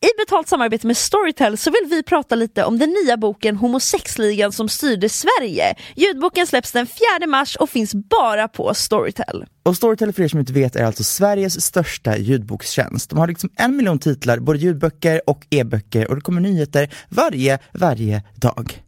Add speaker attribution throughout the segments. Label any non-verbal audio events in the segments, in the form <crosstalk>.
Speaker 1: I betalt samarbete med Storytel så vill vi prata lite om den nya boken Homosexligan som styrde Sverige. Ljudboken släpps den 4 mars och finns bara på Storytel.
Speaker 2: Och Storytel för er som inte vet är alltså Sveriges största ljudbokstjänst. De har liksom en miljon titlar, både ljudböcker och e-böcker och det kommer nyheter varje, varje dag.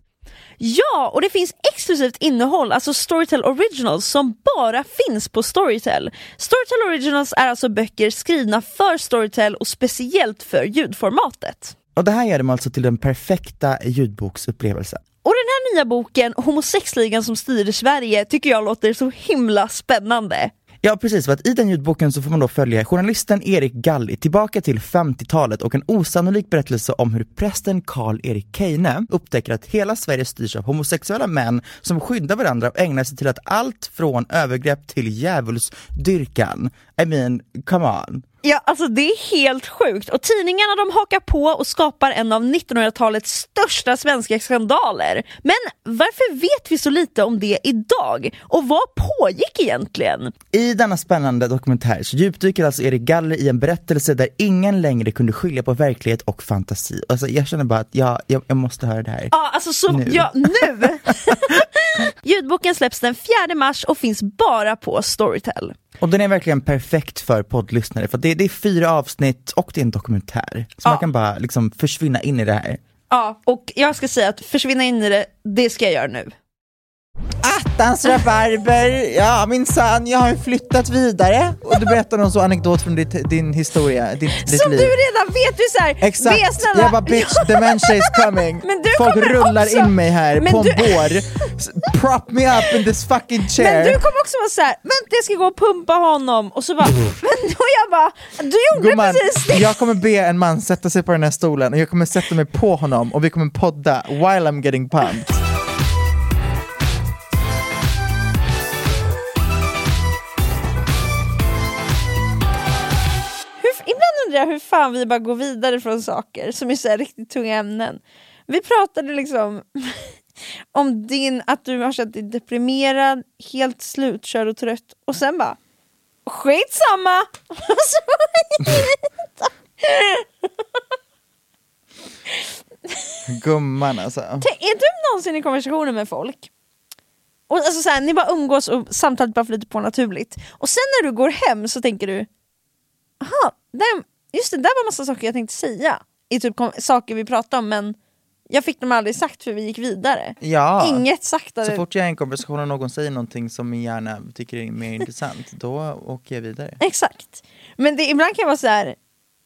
Speaker 1: Ja, och det finns exklusivt innehåll, alltså Storytel Originals, som bara finns på Storytel. Storytel Originals är alltså böcker skrivna för Storytel och speciellt för ljudformatet.
Speaker 2: Och det här gör dem alltså till den perfekta ljudboksupplevelsen.
Speaker 1: Och den här nya boken, Homosexligan som styrde Sverige, tycker jag låter så himla spännande.
Speaker 2: Ja precis, för att i den ljudboken så får man då följa journalisten Erik Galli tillbaka till 50-talet och en osannolik berättelse om hur prästen Karl-Erik Keine upptäcker att hela Sverige styrs av homosexuella män som skyddar varandra och ägnar sig till att allt från övergrepp till djävulsdyrkan. I mean, come on.
Speaker 1: Ja, alltså det är helt sjukt och tidningarna de hakar på och skapar en av 1900-talets största svenska skandaler. Men varför vet vi så lite om det idag? Och vad pågick egentligen?
Speaker 2: I denna spännande dokumentär så djupdyker alltså Erik Galler i en berättelse där ingen längre kunde skilja på verklighet och fantasi. Alltså jag känner bara att jag, jag, jag måste höra det här.
Speaker 1: Ja, alltså så,
Speaker 2: Nu.
Speaker 1: Ja, nu! <laughs> Ljudboken släpps den 4 mars och finns bara på Storytel.
Speaker 2: Och den är verkligen perfekt för poddlyssnare för att det, det är fyra avsnitt och det är en dokumentär. Så man
Speaker 1: Ja.
Speaker 2: kan bara liksom försvinna in i det här.
Speaker 1: Ja, och jag ska säga att försvinna in i det, det ska jag göra nu.
Speaker 2: Attans rabarber, ja minsann, jag har ju flyttat vidare. Och du berättar någon så anekdot från ditt, din historia, ditt, ditt
Speaker 1: Som
Speaker 2: liv.
Speaker 1: du redan vet, du är såhär,
Speaker 2: Exakt,
Speaker 1: "Ve, snälla."
Speaker 2: jag bara bitch,
Speaker 1: <laughs> Ja.
Speaker 2: dementia is coming.
Speaker 1: Men du
Speaker 2: Folk
Speaker 1: kommer
Speaker 2: rullar
Speaker 1: också-
Speaker 2: in mig här
Speaker 1: Men
Speaker 2: på en
Speaker 1: du-
Speaker 2: bår.
Speaker 1: <laughs>
Speaker 2: S- Prop me up in this fucking chair.
Speaker 1: Men du kommer också vara såhär, vänta jag ska gå och pumpa honom och så bara, men då jag bara, du gjorde
Speaker 2: Gumman,
Speaker 1: precis det!
Speaker 2: jag kommer be en man sätta sig på den här stolen och jag kommer sätta mig på honom och vi kommer podda while I'm getting pumped.
Speaker 1: Hur, ibland undrar jag hur fan vi bara går vidare från saker som är så här riktigt tunga ämnen. Vi pratade liksom <laughs> om din, att du har känt dig deprimerad, helt slutkörd och trött och sen bara, skitsamma! <laughs> Och så var det <laughs> inte.
Speaker 2: Gumman alltså.
Speaker 1: Tänk, är du någonsin i konversationer med folk? Och alltså så här, ni bara umgås och samtalet bara flyter på naturligt. Och sen när du går hem så tänker du, aha, där, just det där var massa saker jag tänkte säga. I typ kom, saker vi pratade om men jag fick dem aldrig sagt för vi gick vidare.
Speaker 2: Ja.
Speaker 1: Inget sagt av
Speaker 2: Så
Speaker 1: det.
Speaker 2: fort jag är i en konversation och någon säger någonting som min hjärna tycker är mer intressant, då åker jag vidare.
Speaker 1: Exakt. Men det, ibland kan jag vara så här.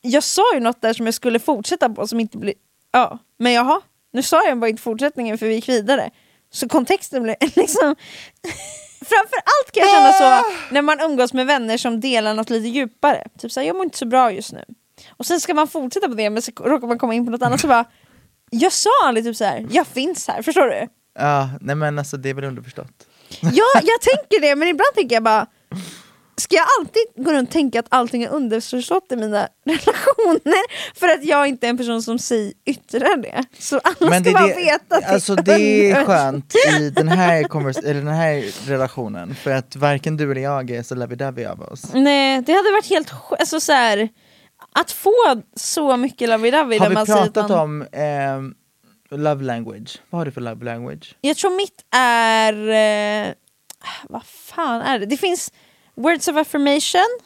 Speaker 1: jag sa ju något där som jag skulle fortsätta på som inte blir... Ja, men jaha, nu sa jag bara inte fortsättningen för vi gick vidare. Så kontexten blev <laughs> liksom... Framförallt kan jag känna så när man umgås med vänner som delar något lite djupare. Typ såhär, jag mår inte så bra just nu. Och sen ska man fortsätta på det men så råkar man komma in på något annat så bara, jag sa aldrig typ såhär, jag finns här, förstår du?
Speaker 2: Ja, nej men alltså det är väl underförstått.
Speaker 1: Ja, jag tänker det, men ibland tänker jag bara Ska jag alltid gå runt och tänka att allting är underförstått i mina <laughs> relationer för att jag inte är en person som säger yttrar det? Så alla
Speaker 2: Men det,
Speaker 1: ska
Speaker 2: är
Speaker 1: bara
Speaker 2: det,
Speaker 1: veta att
Speaker 2: alltså det är skönt i den här, konvers- eller den här relationen för att varken du eller jag är så lovey-dovey av oss.
Speaker 1: Nej, det hade varit helt sj- alltså så här, Att få så mycket lovey-dovey
Speaker 2: Har
Speaker 1: där
Speaker 2: vi
Speaker 1: man säger att
Speaker 2: pratat
Speaker 1: man,
Speaker 2: om ehm, love language? Vad har du för love language?
Speaker 1: Jag tror mitt är... Eh, vad fan är det? Det finns words of affirmation.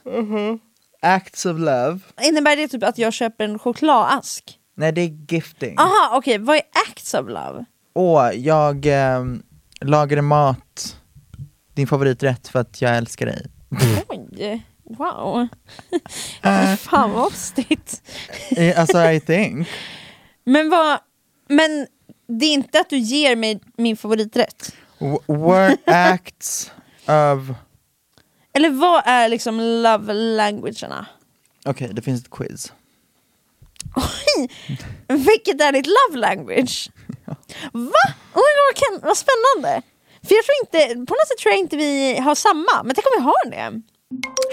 Speaker 2: Acts of love?
Speaker 1: Innebär det typ att jag köper en chokladask?
Speaker 2: Nej det är gifting.
Speaker 1: Aha, okej. Vad är acts of love?
Speaker 2: Åh, jag ehm, lagade mat, din favoriträtt för att jag älskar dig.
Speaker 1: Oj, wow. <laughs>
Speaker 2: Äh.
Speaker 1: fan vad ostigt.
Speaker 2: Eh, Alltså I think.
Speaker 1: Men, vad, men det är inte att du ger mig min favoriträtt?
Speaker 2: W- Were acts of...
Speaker 1: Eller vad är liksom love languagerna?
Speaker 2: Okej, det finns ett quiz.
Speaker 1: Oj, vilket är ditt love language? Va? Oh my God, kan, vad spännande! För jag tror inte, på något sätt tror jag inte vi har samma, men tänk om vi har det?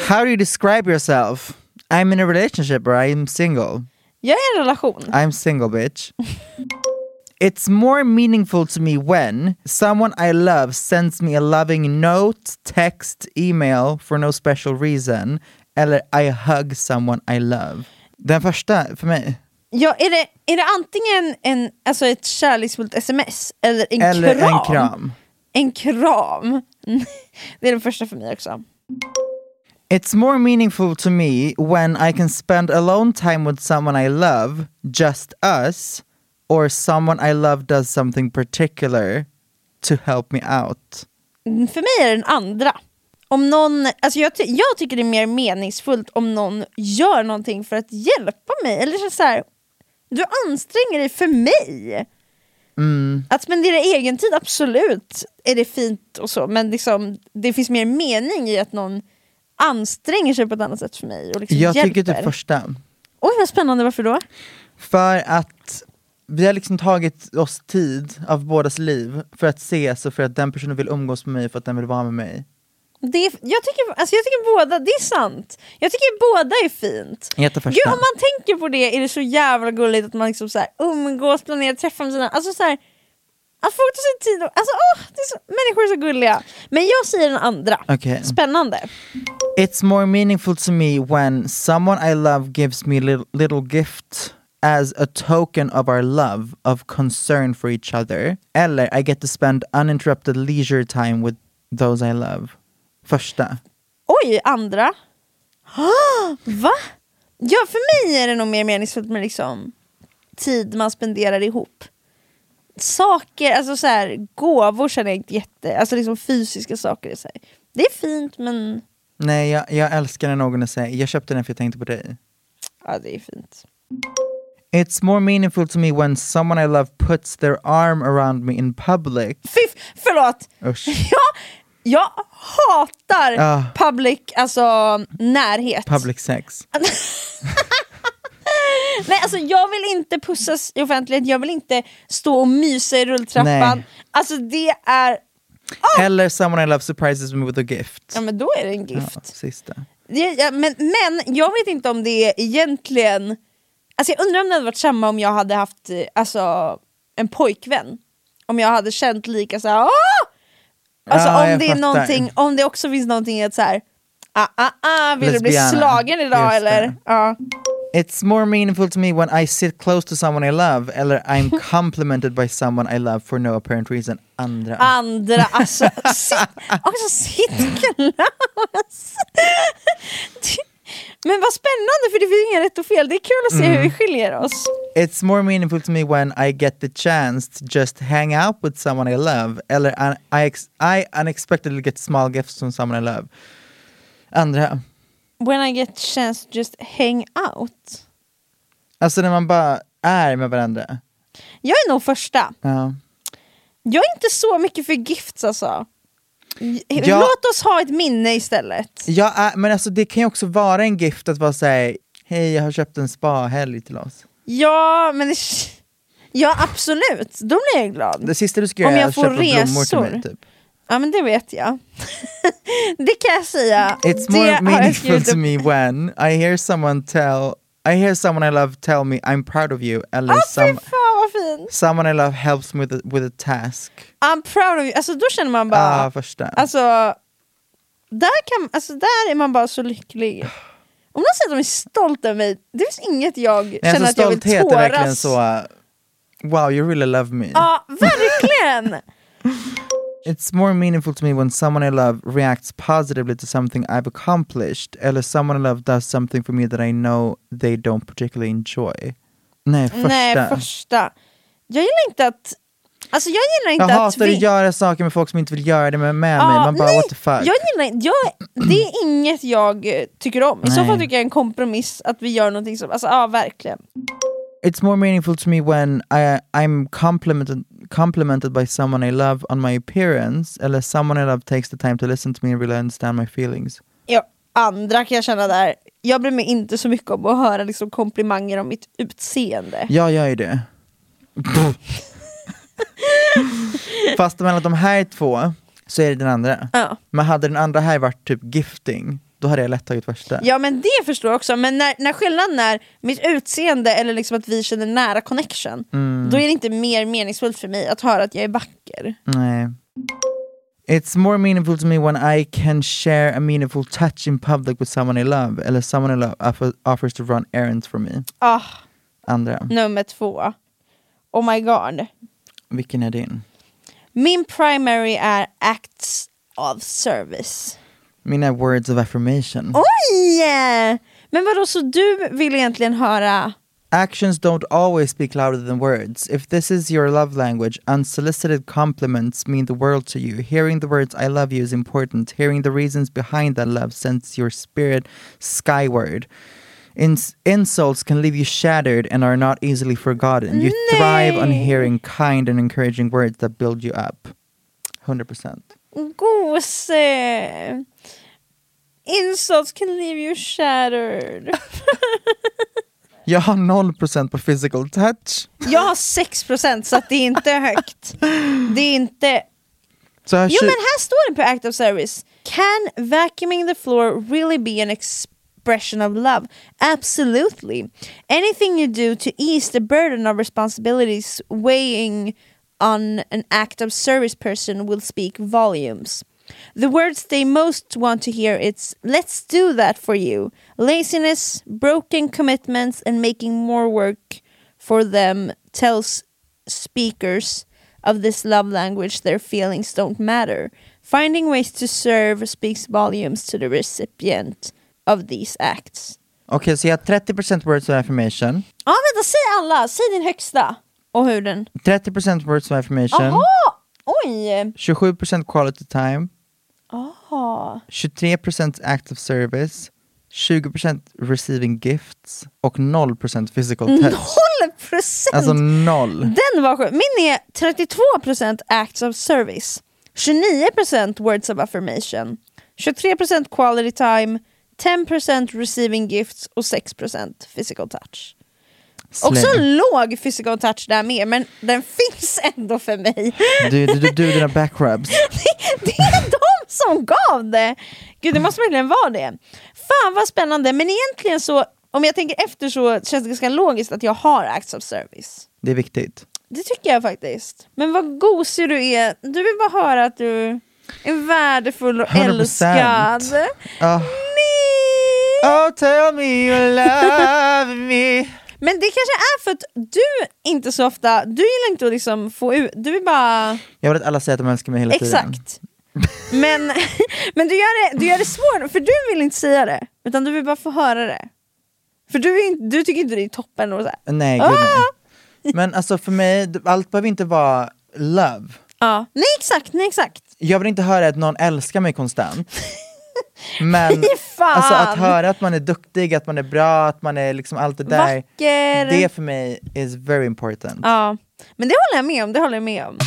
Speaker 2: How do you describe yourself? I'm in a relationship or I'm single.
Speaker 1: Jag är i en relation.
Speaker 2: I'm single, bitch. it's more meaningful to me when someone I love sends me a loving note, text, email for no special reason, eller I hug someone I love. Den första för mig.
Speaker 1: Ja, är, det, är det antingen en, alltså ett kärleksfullt sms eller en
Speaker 2: Eller
Speaker 1: kram?
Speaker 2: en kram.
Speaker 1: En kram. <laughs> det är den första för mig också.
Speaker 2: It's more meaningful to me when I can spend alone time with someone I love, just us, or someone I love does something particular to help me out.
Speaker 1: Mm, För mig är det den andra. Om någon, alltså jag, ty- jag tycker det är mer meningsfullt om någon gör någonting för att hjälpa mig. Eller så- så här, du anstränger dig för mig.
Speaker 2: Mm.
Speaker 1: Att spendera egen tid, absolut är det fint och så, men liksom, det finns mer mening i att någon anstränger sig på ett annat sätt för mig. Och liksom
Speaker 2: Jag
Speaker 1: hjälper.
Speaker 2: tycker typ första.
Speaker 1: Oj vad spännande, varför då?
Speaker 2: För att vi har liksom tagit oss tid av bådas liv för att ses och för att den personen vill umgås med mig för att den vill vara med mig.
Speaker 1: Det är, jag, tycker, alltså jag tycker båda, det är sant. Jag tycker båda är fint.
Speaker 2: Jätte första.
Speaker 1: Gud, om man tänker på det är det så jävla gulligt att man liksom så här umgås, planerar, träffar med sina... Alltså så här, att folk tar sig tid och, alltså, åh, det är så, Människor är så gulliga. Men jag säger den andra.
Speaker 2: Okej.
Speaker 1: Spännande.
Speaker 2: It's more meaningful to me when someone I love gives me little, little gift as a token of our love, of concern for each other. Eller I get to spend uninterrupted leisure time with those I love. Första.
Speaker 1: Oj, andra. <gasps> Ah, Va? Ja, för mig är det nog mer meningsfullt med liksom tid man spenderar ihop. Saker, alltså så här, gåvor känner jag inte jätte... Alltså liksom fysiska saker. är Så här. Det är fint men...
Speaker 2: Nej, jag, jag älskar när någon säger jag köpte den för jag tänkte på dig.
Speaker 1: Ja, det är fint.
Speaker 2: It's more meaningful to me when someone I love puts their arm around me in public.
Speaker 1: Fiff, förlåt! <laughs>
Speaker 2: Usch.
Speaker 1: Ja, jag hatar
Speaker 2: Ja.
Speaker 1: public, alltså närhet.
Speaker 2: Public sex.
Speaker 1: Nej, alltså jag vill inte pussas i offentlighet, jag vill inte stå och mysa i rulltrappan.
Speaker 2: Nej.
Speaker 1: Alltså det är...
Speaker 2: Eller someone I love surprises me with a gift.
Speaker 1: Ja men då är det en
Speaker 2: Ja,
Speaker 1: gift.
Speaker 2: sista.
Speaker 1: Ja, ja, men, men jag vet inte om det är egentligen... Alltså jag undrar om det hade varit samma om jag hade haft eh, alltså, en pojkvän. Om jag hade känt lika så här, Åh! Alltså
Speaker 2: Ja,
Speaker 1: om,
Speaker 2: jag
Speaker 1: det är
Speaker 2: fattar.
Speaker 1: någonting, om det också finns någonting i att så här, ah, ah, ah, vill du bli
Speaker 2: Lesbiana.
Speaker 1: slagen idag
Speaker 2: Just
Speaker 1: eller?
Speaker 2: det.
Speaker 1: Ja.
Speaker 2: It's more meaningful to me when I sit close to someone I love eller I'm complimented by someone I love for no apparent reason. Andra.
Speaker 1: Andra, alltså, sitt, alltså sitt klass. <laughs> Men vad spännande för det finns inga rätt och fel, det är kul att se hur vi
Speaker 2: Mm.
Speaker 1: skiljer oss.
Speaker 2: It's more meaningful to me when I get the chance to just hang out with someone I love eller un- I, ex- I unexpectedly get small gifts from someone I love. Andra.
Speaker 1: When I get chance to just hang out.
Speaker 2: Alltså när man bara är med varandra.
Speaker 1: Jag är nog första.
Speaker 2: Ja.
Speaker 1: Jag är inte så mycket för gifts alltså. J-
Speaker 2: Ja.
Speaker 1: Låt oss ha ett minne istället.
Speaker 2: Jag är, men alltså det kan ju också vara en gift att vara såhär, hej jag har köpt en spa-helg till oss.
Speaker 1: Ja, men det... <laughs> Ja, absolut. Då blir jag glad.
Speaker 2: Det sista du ska
Speaker 1: Om
Speaker 2: göra är
Speaker 1: jag
Speaker 2: att
Speaker 1: får
Speaker 2: köpa blommor till
Speaker 1: resor.
Speaker 2: mig typ.
Speaker 1: Ja men det vet jag. <laughs> det kan jag säga.
Speaker 2: It's
Speaker 1: det
Speaker 2: more
Speaker 1: har jag
Speaker 2: meaningful
Speaker 1: skrivit
Speaker 2: to
Speaker 1: upp.
Speaker 2: me when I hear someone tell I hear someone I love tell me I'm proud of you eller
Speaker 1: Ah, fy
Speaker 2: some,
Speaker 1: fan vad fin!
Speaker 2: someone I love helps me with a, with a task.
Speaker 1: I'm proud of you. Alltså då känner man bara,
Speaker 2: Ah, första.
Speaker 1: alltså, där, kan, alltså där är man bara så lycklig. Om någon säger att de är stolta över mig, det finns inget jag
Speaker 2: Nej,
Speaker 1: känner
Speaker 2: alltså,
Speaker 1: att jag vill
Speaker 2: stolthet
Speaker 1: tåras.
Speaker 2: är verkligen så uh, Wow, you really love me.
Speaker 1: Ja,
Speaker 2: <laughs>
Speaker 1: verkligen!
Speaker 2: It's more meaningful to me when someone I love reacts positively to something I've accomplished eller someone I love does something for me that I know they don't particularly enjoy. Nej, första.
Speaker 1: Nej, första. Jag gillar inte att... Alltså jag gillar
Speaker 2: jag
Speaker 1: inte att...
Speaker 2: hatar
Speaker 1: vi-
Speaker 2: att göra saker med folk som inte vill göra det med, med
Speaker 1: Ja,
Speaker 2: mig. Man bara
Speaker 1: nej,
Speaker 2: what the fuck.
Speaker 1: Jag gillar, inte- jag, det är inget jag eh, tycker om. I så
Speaker 2: Nej.
Speaker 1: fall tycker jag en kompromiss att vi gör någonting som... Alltså ja, verkligen.
Speaker 2: It's more meaningful to me when I, I'm complimented, complimented by someone I love on my appearance eller someone I love takes the time to listen to me and really understand my feelings.
Speaker 1: Ja, andra kan jag känna där. Jag bryr mig inte så mycket om att höra liksom, komplimanger om mitt utseende.
Speaker 2: Jag gör
Speaker 1: <laughs>
Speaker 2: ju det. Fast mellan de här två så är det den andra.
Speaker 1: Ja.
Speaker 2: Men hade den andra här varit typ gifting, då hade jag lätt tagit första.
Speaker 1: Ja men det förstår jag också, men när, när skillnaden är mitt utseende eller liksom att vi känner nära connection, då är det inte mer meningsfullt för mig att höra att jag är vacker.
Speaker 2: Nej. It's more meaningful to me when I can share a meaningful touch in public with someone I love eller someone I love offer- offers to run errands for me.
Speaker 1: Ah,
Speaker 2: Andra,
Speaker 1: nummer två. Oh my god.
Speaker 2: vilken är din?
Speaker 1: Min primary är acts of service.
Speaker 2: Mina words of affirmation.
Speaker 1: Oj! Men vadå, så du vill egentligen höra...
Speaker 2: Actions don't always speak louder than words. If this is your love language, unsolicited compliments mean the world to you. Hearing the words I love you is important. Hearing the reasons behind that love sends your spirit skyward. Ins- insults can leave you shattered and are not easily forgotten. You thrive on
Speaker 1: Nej.
Speaker 2: hearing kind and encouraging words that build you up. 100%.
Speaker 1: Gose! Insults can leave you shattered.
Speaker 2: Jag har 0% på physical touch.
Speaker 1: Jag har 6% så att det är inte högt. Det är inte...
Speaker 2: Så jag har
Speaker 1: Jo
Speaker 2: tju-
Speaker 1: men här står det på Act of Service. Can vacuuming the floor really be an expression of love? Absolutely. Anything you do to ease the burden of responsibilities weighing on an act of service person will speak volumes. The words they most want to hear it's let's do that for you. Laziness, broken commitments and making more work for them tells speakers of this love language their feelings don't matter. Finding ways to serve speaks volumes to the recipient of these acts.
Speaker 2: Okej, så jag har 30% words of affirmation.
Speaker 1: Ja vänta, säg alla, säg din högsta och hur den...
Speaker 2: 30% words of affirmation.
Speaker 1: Jaha! Oj!
Speaker 2: 27% quality time,
Speaker 1: Aha.
Speaker 2: 23% act of service, 20% receiving gifts och 0% physical touch.
Speaker 1: Noll procent!
Speaker 2: Alltså noll.
Speaker 1: Den var sjuk. Min är 32% acts of service, 29% words of affirmation, 23% quality time, 10% receiving gifts och 6% physical touch. Också
Speaker 2: Slay.
Speaker 1: låg physical touch där med, men den <laughs> finns ändå för mig. <laughs>
Speaker 2: Du, du, du, du dina back rubs.
Speaker 1: Det, det är de som gav det! Gud, det måste verkligen vara det. Fan vad spännande, men egentligen så, om jag tänker efter så känns det ganska logiskt att jag har acts of service.
Speaker 2: Det är viktigt.
Speaker 1: Det tycker jag faktiskt. Men vad gosig du är. Du vill bara höra att du är värdefull och
Speaker 2: 100%.
Speaker 1: älskad.
Speaker 2: Ah.
Speaker 1: Nej!
Speaker 2: Oh tell me you love me.
Speaker 1: Men det kanske är för att du inte så ofta, du gillar inte att liksom få ut, du vill bara...
Speaker 2: Jag vill att alla säger att de älskar mig hela tiden.
Speaker 1: Exakt. Men, <laughs> men du, gör det, du gör det svårt, för du vill inte säga det. Utan du vill bara få höra det. För du, är inte, du tycker inte det är toppen. Och så här.
Speaker 2: Nej, gud nej. Men alltså för mig, allt behöver inte vara love.
Speaker 1: Ja. Ah, Nej exakt, nej exakt.
Speaker 2: Jag vill inte höra att någon älskar
Speaker 1: <laughs>
Speaker 2: mig konstant. Men
Speaker 1: Fy fan!
Speaker 2: alltså att höra att man är duktig, att man är bra, att man är liksom allt det där.
Speaker 1: Vacker.
Speaker 2: Det för mig is very important.
Speaker 1: Ja, men det håller jag med om. Det håller jag med om.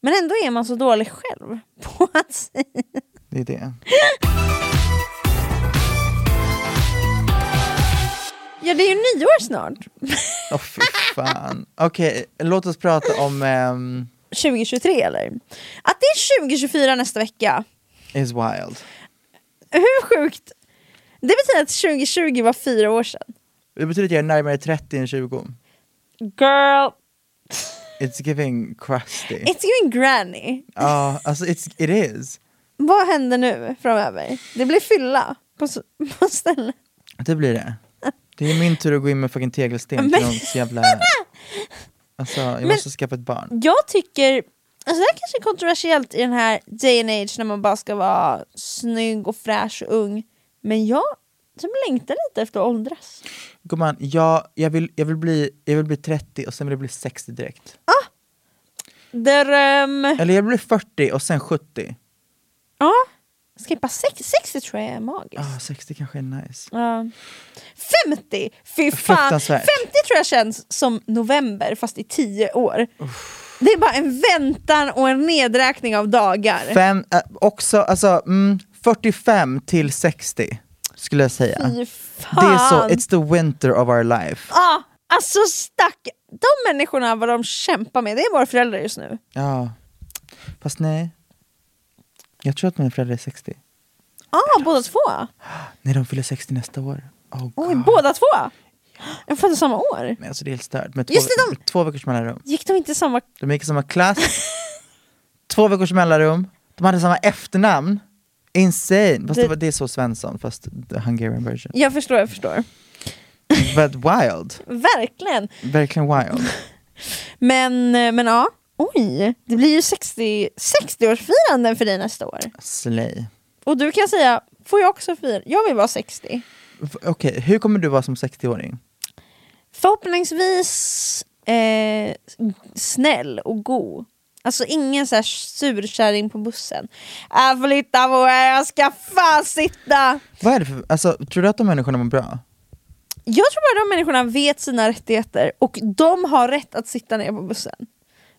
Speaker 1: Men ändå är man så dålig själv <laughs> på att säga.
Speaker 2: Det är det.
Speaker 1: Ja, det är ju nyår snart. <laughs>
Speaker 2: Åh fy fan. Okej, låt oss prata om ehm,
Speaker 1: 2023 eller? Att det är 2024 nästa vecka,
Speaker 2: Is wild.
Speaker 1: hur sjukt? Det betyder att 2020 var fyra år sedan.
Speaker 2: Det betyder att jag är närmare 30 än 20.
Speaker 1: Girl,
Speaker 2: It's giving crusty.
Speaker 1: it's giving granny.
Speaker 2: Ja, alltså it's, it is.
Speaker 1: Vad händer nu framöver? Det blir fylla på, s- <laughs> på ställen.
Speaker 2: Det blir det. Det är min tur att gå in med fucking tegelsten
Speaker 1: Men-
Speaker 2: till någons jävla...
Speaker 1: <laughs>
Speaker 2: Alltså, jag måste skaffa ett barn.
Speaker 1: Jag tycker, alltså det här kanske är kontroversiellt i den här day and age när man bara ska vara snygg och fräsch och ung. Men jag typ längtar lite efter att åldras.
Speaker 2: Gumman, jag, jag, vill, jag, vill bli, jag vill bli 30 och sen vill jag bli 60 direkt.
Speaker 1: Dröm!
Speaker 2: Eller jag vill bli 40 och sen 70.
Speaker 1: Ja, skippa sex- 60 tror jag är magiskt.
Speaker 2: Ah, 60 kanske är nice.
Speaker 1: Ja. 50! Fy fan! 50
Speaker 2: Fruktansvärt.
Speaker 1: tror jag känns som november fast i 10 år. Det är bara en väntan och en nedräkning av dagar.
Speaker 2: Fem, äh, också, alltså, mm, 45 till 60 skulle jag säga.
Speaker 1: Fy
Speaker 2: Det
Speaker 1: fan!
Speaker 2: är så, it's the winter of our life.
Speaker 1: Ja, alltså stack. De människorna, vad de kämpar med, det är våra föräldrar just nu.
Speaker 2: Ja. Fast nej. Jag tror att mina föräldrar är 60.
Speaker 1: Ja, båda två.
Speaker 2: Nej, de fyller 60 nästa år. Oh,
Speaker 1: Oj,
Speaker 2: God.
Speaker 1: båda två! De föddes samma år.
Speaker 2: Men alltså det är helt stört. Med två,
Speaker 1: Just det, de-
Speaker 2: med två veckors mellanrum.
Speaker 1: Gick de inte samma...
Speaker 2: De gick i
Speaker 1: <laughs>
Speaker 2: samma klass, två veckors mellanrum, de hade samma efternamn. Insane! Fast det,
Speaker 1: Det-
Speaker 2: var, det är så Svensson, fast the
Speaker 1: <laughs>
Speaker 2: Hungarian version.
Speaker 1: Jag förstår, jag förstår.
Speaker 2: But wild!
Speaker 1: Verkligen.
Speaker 2: Verkligen wild.
Speaker 1: Men, men ja, oj. Det blir ju 60, 60-årsfiranden för dig nästa år.
Speaker 2: Slay.
Speaker 1: Och du kan säga, får jag också fira? Jag vill vara 60.
Speaker 2: V- Okej, hur kommer du vara som 60-åring?
Speaker 1: Förhoppningsvis eh, snäll och god. Alltså ingen så här surkärring på bussen. Äh, Jag får lita på er, jag ska fan sitta!
Speaker 2: Vad är det för, alltså, tror du att de människorna mår bra?
Speaker 1: Jag tror bara de människorna vet sina rättigheter och de har rätt att sitta ner på bussen.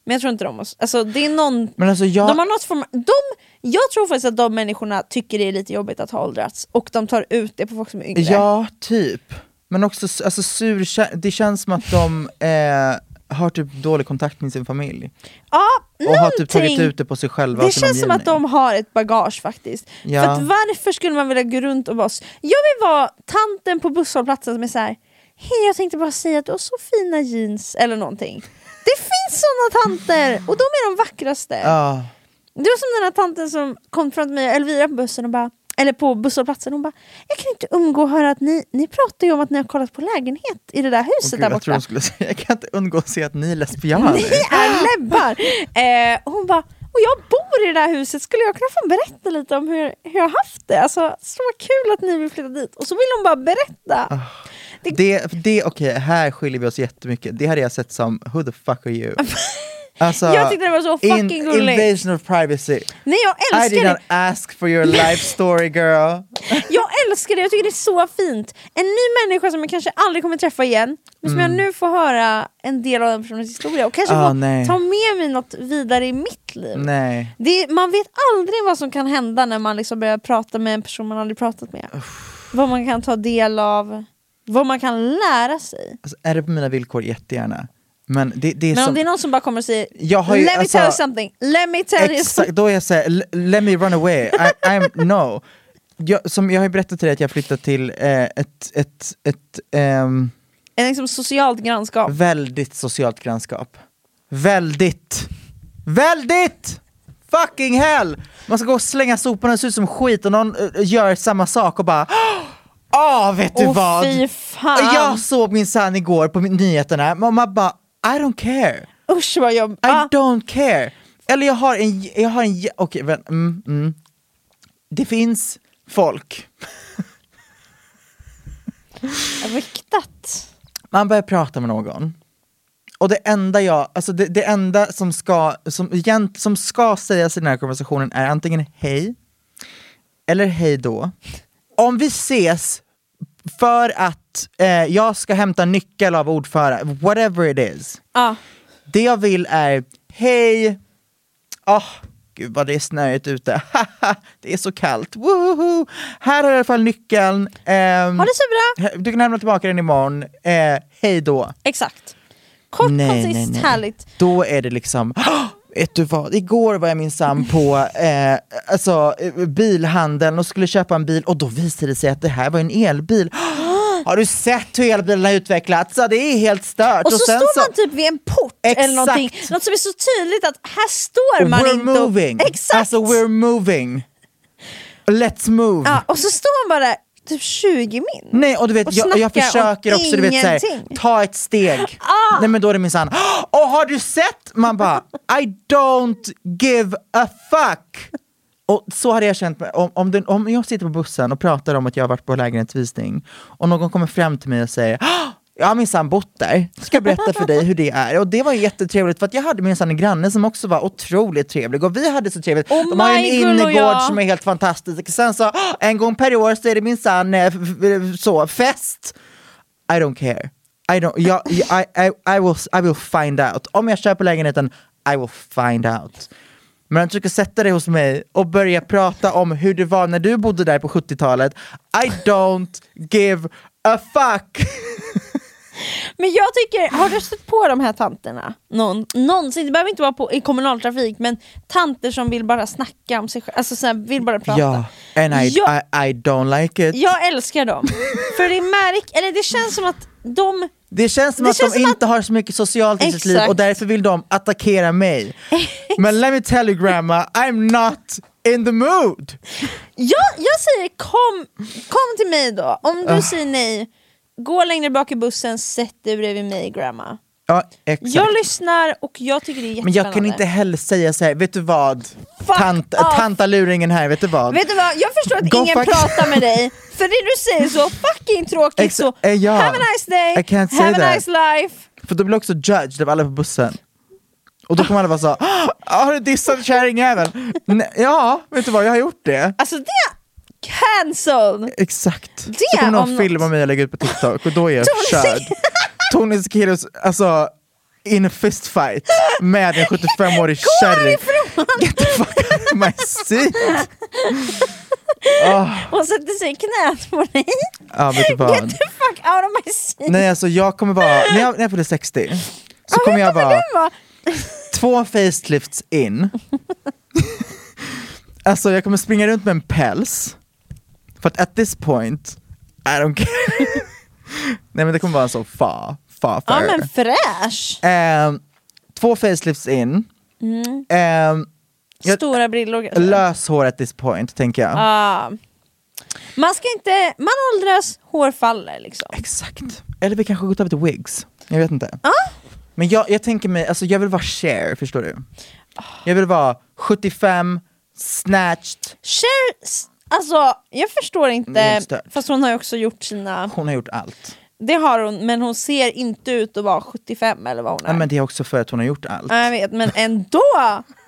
Speaker 1: Men jag tror inte de måste, alltså det är någon...
Speaker 2: Men alltså jag,
Speaker 1: De har något form, de, jag tror faktiskt att de människorna tycker det är lite jobbigt att ha åldrats och de tar ut det på folk som är yngre.
Speaker 2: ja typ. Men också s- alltså, sur, kä- det känns som att de eh, har typ dålig kontakt med sin familj.
Speaker 1: ja
Speaker 2: Och har typ tagit
Speaker 1: någonting-
Speaker 2: ut det på sig själva
Speaker 1: Det
Speaker 2: och sin
Speaker 1: känns som att
Speaker 2: omgivning.
Speaker 1: de har ett bagage faktiskt.
Speaker 2: Ja.
Speaker 1: För att varför skulle man vilja gå runt och vara s- Jag vill vara tanten på busshållplatsen som är så här. Hej jag tänkte bara säga att du har så fina jeans eller någonting. Det finns såna tanter och de är de vackraste.
Speaker 2: Ja.
Speaker 1: Det var som den här tanten som kom fram till mig och Elvira på bussen och bara eller på busshållplatsen, hon bara Jag kan inte umgå att höra att ni, ni pratar ju om att ni har kollat på lägenhet i det där
Speaker 2: Åh,
Speaker 1: huset
Speaker 2: gud,
Speaker 1: där
Speaker 2: jag, tror
Speaker 1: borta
Speaker 2: de skulle säga, <laughs> jag kan inte undgå att se att ni är lesbianer.
Speaker 1: Ni <laughs> är läbbar! Eh, och hon bara, och jag bor i det här huset, skulle jag kunna få berätta lite om hur, hur jag haft det? Alltså, så vad kul att ni vill flytta dit. Och så vill hon bara berätta.
Speaker 2: Det, det okej, här skiljer vi oss jättemycket. Det hade jag sett som, who the fuck
Speaker 1: <laughs>
Speaker 2: are you? Alltså,
Speaker 1: Jag tyckte det var så fucking gulligt.
Speaker 2: Invasion of privacy.
Speaker 1: Nej, jag
Speaker 2: I did
Speaker 1: älskar
Speaker 2: not
Speaker 1: det.
Speaker 2: ask for your life story girl.
Speaker 1: Jag älskar det, jag tycker det är så fint. En ny människa som jag kanske aldrig kommer träffa igen, men som jag nu får höra en del av den personens historia och kanske
Speaker 2: Ah,
Speaker 1: får
Speaker 2: nej.
Speaker 1: ta med mig något vidare i mitt liv.
Speaker 2: Nej,
Speaker 1: Det, är- man vet aldrig vad som kan hända när man liksom börjar prata med en person man aldrig pratat med. Vad man kan ta del av, vad man kan lära sig.
Speaker 2: alltså, är det på mina villkor jättegärna. Men det, det är
Speaker 1: Men om
Speaker 2: som,
Speaker 1: det är någon som bara kommer och säger
Speaker 2: Liksom- Jag har ju-
Speaker 1: Let me
Speaker 2: alltså-
Speaker 1: tell you something, let me tell you
Speaker 2: Exakt,
Speaker 1: something.
Speaker 2: då är jag såhär, "L- let me run away, I, I'm, no. Jag, som jag har ju berättat till dig att jag flyttat till eh, ett, ett, ett ehm,
Speaker 1: En liksom socialt grannskap.
Speaker 2: Väldigt socialt grannskap. Väldigt! Väldigt! Fucking hell! Man ska gå och slänga soporna och se ut som skit och någon eh, gör samma sak och bara <gasps> Åh, vet du
Speaker 1: Åh,
Speaker 2: vad?
Speaker 1: fy fan.
Speaker 2: Jag såg min son igår på min- nyheterna, mamma bara I don't care,
Speaker 1: Usch vad jobbigt.
Speaker 2: I
Speaker 1: Ah,
Speaker 2: don't care. Eller jag har en, jag har en, okej vänta, mm, mm. Det finns folk
Speaker 1: riktat.
Speaker 2: man börjar prata med någon och det enda jag, alltså det, det enda som ska, som, egent, som ska sägas i den här konversationen är antingen hej eller hej då. Om vi ses för att eh, jag ska hämta nyckel av ordförande, whatever it is.
Speaker 1: Ah.
Speaker 2: Det jag vill är, hej, åh, gud vad det är snöigt ute, <laughs> Haha, det är så kallt, Woho! Här har jag i alla fall nyckeln. Ehm,
Speaker 1: Ha det så bra.
Speaker 2: du kan lämna tillbaka den imorgon, eh, hej då.
Speaker 1: Exakt. Kort,
Speaker 2: Nej,
Speaker 1: koncist,
Speaker 2: nej, nej.
Speaker 1: härligt.
Speaker 2: Då är det liksom, <gasps> "Åh, Vet du vad, igår var jag minsann på
Speaker 1: <laughs>
Speaker 2: eh, alltså, eh, bilhandeln och skulle köpa en bil och då visade det sig att det här var
Speaker 1: <gasps>
Speaker 2: en elbil. <gasps> Har du sett hur elbilarna har utvecklats? Ja, det är helt stört.
Speaker 1: Och så står man typ vid en port eller
Speaker 2: Exakt.
Speaker 1: någonting. Något som är så tydligt att här står man
Speaker 2: we're
Speaker 1: inte och-
Speaker 2: moving.
Speaker 1: Exakt!
Speaker 2: Alltså we're moving. Let's move.
Speaker 1: ja, och så står man bara typ 20 min.
Speaker 2: Nej och du vet
Speaker 1: Och
Speaker 2: jag, jag
Speaker 1: snackar
Speaker 2: försöker
Speaker 1: om
Speaker 2: också du vet, så här,
Speaker 1: ingenting.
Speaker 2: ta ett steg. Nej men då är det minsann, och har du sett? Man bara I don't give a fuck. Och så hade jag känt mig, om, om, den, om jag sitter på bussen och pratar om att jag har varit på lägenhetsvisning och någon kommer fram till mig och säger "Ah, jag har minsann bott där, ska jag berätta för dig hur det är. Och det var ju jättetrevligt för att jag hade minsann en granne som också var otroligt trevlig och vi hade så trevligt.
Speaker 1: Och
Speaker 2: De har ju en
Speaker 1: Michael och jag.
Speaker 2: innergård som är helt fantastisk. Sen så, "Ah, en gång per år så är det minsann eh, f- f- så, fest. I don't care. I, don't, jag, jag- I, I, I, will, I will find out. Om jag köper lägenheten, I will find out. Men om du ska sätta dig hos mig och börja prata om hur det var när du bodde där på 70-talet, I don't give a
Speaker 1: <laughs>
Speaker 2: fuck!
Speaker 1: Men jag tycker, har du stött på de här tanterna? Någon, någonsin, det behöver inte vara på, i kommunaltrafik, men tanter som vill bara snacka om sig själva, alltså så här, vill bara prata.
Speaker 2: ja, and I,
Speaker 1: jag,
Speaker 2: I, I don't like it.
Speaker 1: jag älskar
Speaker 2: <laughs>
Speaker 1: dem. För det märk, eller det känns som att de,
Speaker 2: Det känns som
Speaker 1: Det
Speaker 2: att
Speaker 1: känns
Speaker 2: de
Speaker 1: som
Speaker 2: inte har så mycket socialt i sitt liv
Speaker 1: Exakt.
Speaker 2: och därför vill de
Speaker 1: <laughs>
Speaker 2: attackera mig. Men let me tell you grandma, I'm not in the mood!
Speaker 1: jag, jag säger kom, kom till mig då, om du säger nej, gå längre bak i bussen, sätt dig bredvid mig grandma.
Speaker 2: Ja, exakt.
Speaker 1: Jag lyssnar och jag tycker det är
Speaker 2: Men
Speaker 1: jättespännande.
Speaker 2: jag kan inte heller säga så här, vet du vad?
Speaker 1: Fuck
Speaker 2: Tant,
Speaker 1: off.
Speaker 2: tantaluringen här, vet du vad?
Speaker 1: Vet du vad, jag förstår att
Speaker 2: Go
Speaker 1: ingen
Speaker 2: fuck-
Speaker 1: pratar med
Speaker 2: <laughs>
Speaker 1: dig, för det du säger är så fucking tråkigt
Speaker 2: Exa-
Speaker 1: så
Speaker 2: eh, ja.
Speaker 1: Have a nice day,
Speaker 2: I can't say
Speaker 1: have a
Speaker 2: that.
Speaker 1: nice life
Speaker 2: För då blir jag också judged av alla på bussen. Och då kommer alla vara så, "Ah, har du dissat kärringjäveln? Nej, ja, vet du vad, jag har gjort det.
Speaker 1: Alltså det, cancelled!
Speaker 2: Exakt.
Speaker 1: Det
Speaker 2: så kommer
Speaker 1: om
Speaker 2: någon
Speaker 1: något.
Speaker 2: filma mig och lägga ut på TikTok och då är jag
Speaker 1: Tony
Speaker 2: körd. Tony Sekelius, alltså in a fist fight med en 75-årig kärring.
Speaker 1: <laughs>
Speaker 2: Get the fuck out of my seat! Oh,
Speaker 1: Hon sätter sig i knät på dig,
Speaker 2: ja, vet du
Speaker 1: get
Speaker 2: vad?
Speaker 1: the fuck out of my seat!
Speaker 2: Nej alltså jag kommer vara, när jag, när jag fyller 60 så
Speaker 1: Ja,
Speaker 2: kommer
Speaker 1: vet
Speaker 2: jag
Speaker 1: du vad
Speaker 2: vara
Speaker 1: du var?
Speaker 2: två facelifts
Speaker 1: <laughs>
Speaker 2: in. alltså jag kommer springa runt med en päls. För att at this point, I don't care. <laughs> Nej men det kommer vara så fa, fa,
Speaker 1: Ja
Speaker 2: för.
Speaker 1: men fräsch!
Speaker 2: Ehm, två facelifts in.
Speaker 1: Mm.
Speaker 2: Ehm, Jag-
Speaker 1: Stora brillor kanske.
Speaker 2: lös hår at this point tänker jag.
Speaker 1: Ja. Man ska inte, man åldras, hår faller liksom
Speaker 2: Exakt. Eller vi kanske går över till wigs. Jag vet inte. Men jag, jag tänker mig, alltså jag vill vara share, förstår du?
Speaker 1: Ah.
Speaker 2: Jag vill vara 75, snatched,
Speaker 1: Cher, s- alltså jag förstår
Speaker 2: Det är
Speaker 1: inte,
Speaker 2: inte stört.
Speaker 1: fast hon har ju också gjort sina
Speaker 2: hon har gjort allt.
Speaker 1: Det har hon, men hon ser inte ut att vara 75 eller vad hon är.
Speaker 2: Ja, men det är också för att hon har gjort allt.
Speaker 1: Ja, jag vet, men ändå!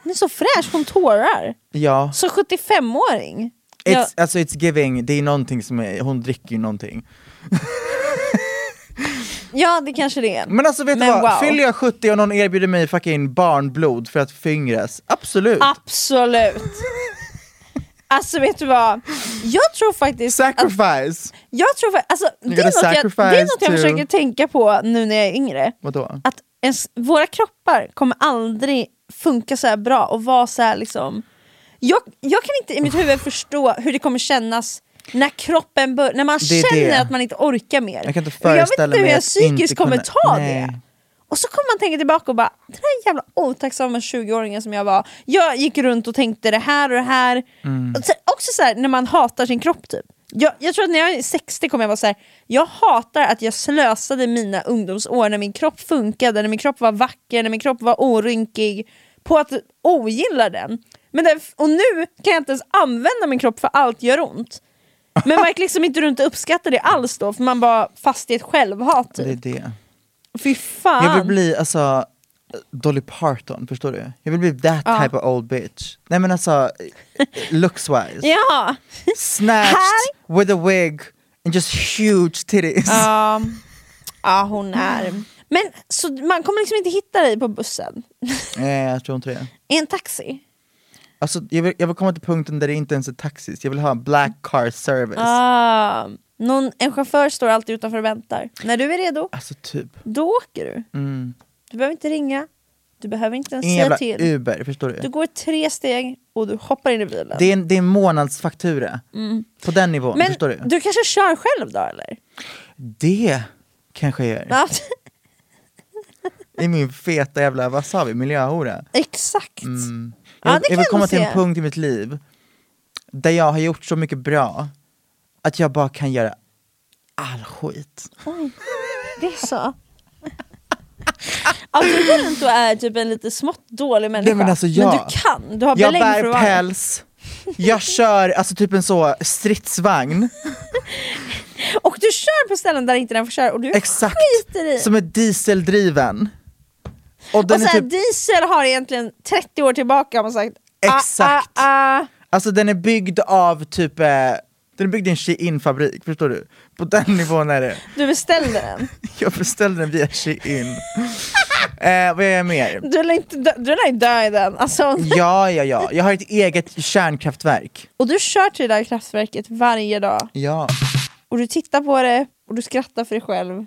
Speaker 1: Hon är så fräsch, hon tårar.
Speaker 2: Ja,
Speaker 1: Så 75-åring.
Speaker 2: it's,
Speaker 1: Jag,
Speaker 2: alltså it's giving, det är någonting som är, hon dricker ju någonting.
Speaker 1: ja, det kanske det är.
Speaker 2: Men alltså vet
Speaker 1: Men
Speaker 2: du vad,
Speaker 1: wow.
Speaker 2: fyller jag 70 och någon erbjuder mig fucking barnblod för att fingras, absolut.
Speaker 1: Ah. Absolut. Alltså vet du vad? Jag tror faktiskt... att-
Speaker 2: Sacrifice!
Speaker 1: jag tror, fa- alltså, det, är
Speaker 2: gotta
Speaker 1: något jag, det är
Speaker 2: sacrifice
Speaker 1: något jag
Speaker 2: to-
Speaker 1: försöker tänka på nu när jag är yngre.
Speaker 2: Vadå?
Speaker 1: Att ens, våra kroppar kommer aldrig funka så här bra och vara så här liksom... Jag, jag kan inte i mitt huvud förstå hur det kommer kännas när kroppen bör, när man
Speaker 2: Det är
Speaker 1: känner
Speaker 2: det.
Speaker 1: att man inte orkar mer.
Speaker 2: Jag kan inte
Speaker 1: Och jag vet
Speaker 2: föreställa
Speaker 1: inte hur
Speaker 2: mig
Speaker 1: jag
Speaker 2: att inte
Speaker 1: psykiskt kommer
Speaker 2: kunna-
Speaker 1: ta det.
Speaker 2: Nej.
Speaker 1: Och så kommer man tänka tillbaka och bara, den här jävla otacksamma 20-åringen som jag var. Jag gick runt och tänkte det här och det här.
Speaker 2: Mm.
Speaker 1: Och sen, också så här, när man hatar sin kropp typ. Jag, jag tror att när jag är 60 kommer jag vara så här. jag hatar att jag slösade mina ungdomsår när min kropp funkade, när min kropp var vacker, när min kropp var orynkig, på att ogilla den. Men det, och nu kan jag inte ens använda min kropp för allt gör ont. Men man gick liksom inte runt och uppskattade det alls då, för man var fast i ett självhat
Speaker 2: Det är
Speaker 1: typ.
Speaker 2: det.
Speaker 1: Fy fan!
Speaker 2: Jag vill bli alltså Dolly Parton, förstår du? Jag vill bli that
Speaker 1: Ja.
Speaker 2: type of old bitch. Nej
Speaker 1: <laughs>
Speaker 2: men alltså, looks wise.
Speaker 1: Ja!
Speaker 2: Snatched with a wig and just huge titties.
Speaker 1: Ja, ja hon är... Men så man kommer liksom inte hitta dig på bussen? <laughs>
Speaker 2: Nej jag tror inte det.
Speaker 1: I en taxi?
Speaker 2: Alltså, jag, vill, jag vill komma till punkten där det inte ens är taxis, jag vill ha en black car service.
Speaker 1: Ah, någon, en chaufför står alltid utanför och väntar. När du är redo,
Speaker 2: Alltså typ.
Speaker 1: då åker du. Du behöver inte ringa. Du behöver inte ens
Speaker 2: En
Speaker 1: säga
Speaker 2: jävla
Speaker 1: till.
Speaker 2: Uber, förstår
Speaker 1: Du
Speaker 2: du?
Speaker 1: går tre steg och du hoppar in i bilen.
Speaker 2: Det är en, det är en månadsfaktura. På den nivån,
Speaker 1: Mm. Men
Speaker 2: förstår du?
Speaker 1: du kanske kör själv då eller?
Speaker 2: Det kanske jag gör.
Speaker 1: Ja, <laughs>
Speaker 2: I min feta jävla wasabi, miljöhora.
Speaker 1: exakt.
Speaker 2: Mm. Jag,
Speaker 1: Ja, det kan
Speaker 2: vill- jag vill
Speaker 1: jag
Speaker 2: komma
Speaker 1: nog
Speaker 2: till en
Speaker 1: se.
Speaker 2: punkt i mitt liv där jag har gjort så mycket bra att jag bara kan göra all skit.
Speaker 1: Det är så. Alltså du är inte är typ en lite smått dålig människa.
Speaker 2: Nej, men alltså, ja.
Speaker 1: du kan, du har
Speaker 2: Jag
Speaker 1: belägg för att
Speaker 2: bär
Speaker 1: vara det.
Speaker 2: päls, jag kör alltså typ en så stridsvagn,
Speaker 1: Och du kör på ställen där inte den får köra och du
Speaker 2: exakt,
Speaker 1: skiter i.
Speaker 2: som är dieseldriven. Och den
Speaker 1: och
Speaker 2: är
Speaker 1: så här,
Speaker 2: typ,
Speaker 1: diesel har egentligen 30 år tillbaka har man sagt
Speaker 2: Exakt.
Speaker 1: Ah, ah, ah.
Speaker 2: alltså den är byggd av typ, eh, den är byggd i en Shein-fabrik, förstår du? På den nivån är det.
Speaker 1: Du beställde den.
Speaker 2: Jag beställde den
Speaker 1: <laughs>
Speaker 2: via Shein. eh, vad gör jag mer?
Speaker 1: Du lär inte dö, du lär ju dö i den. Alltså,
Speaker 2: Ja, ja, ja. Jag har ett eget kärnkraftverk.
Speaker 1: och du kör till det där kraftverket varje dag
Speaker 2: Ja.
Speaker 1: och du tittar på det och du skrattar för dig själv.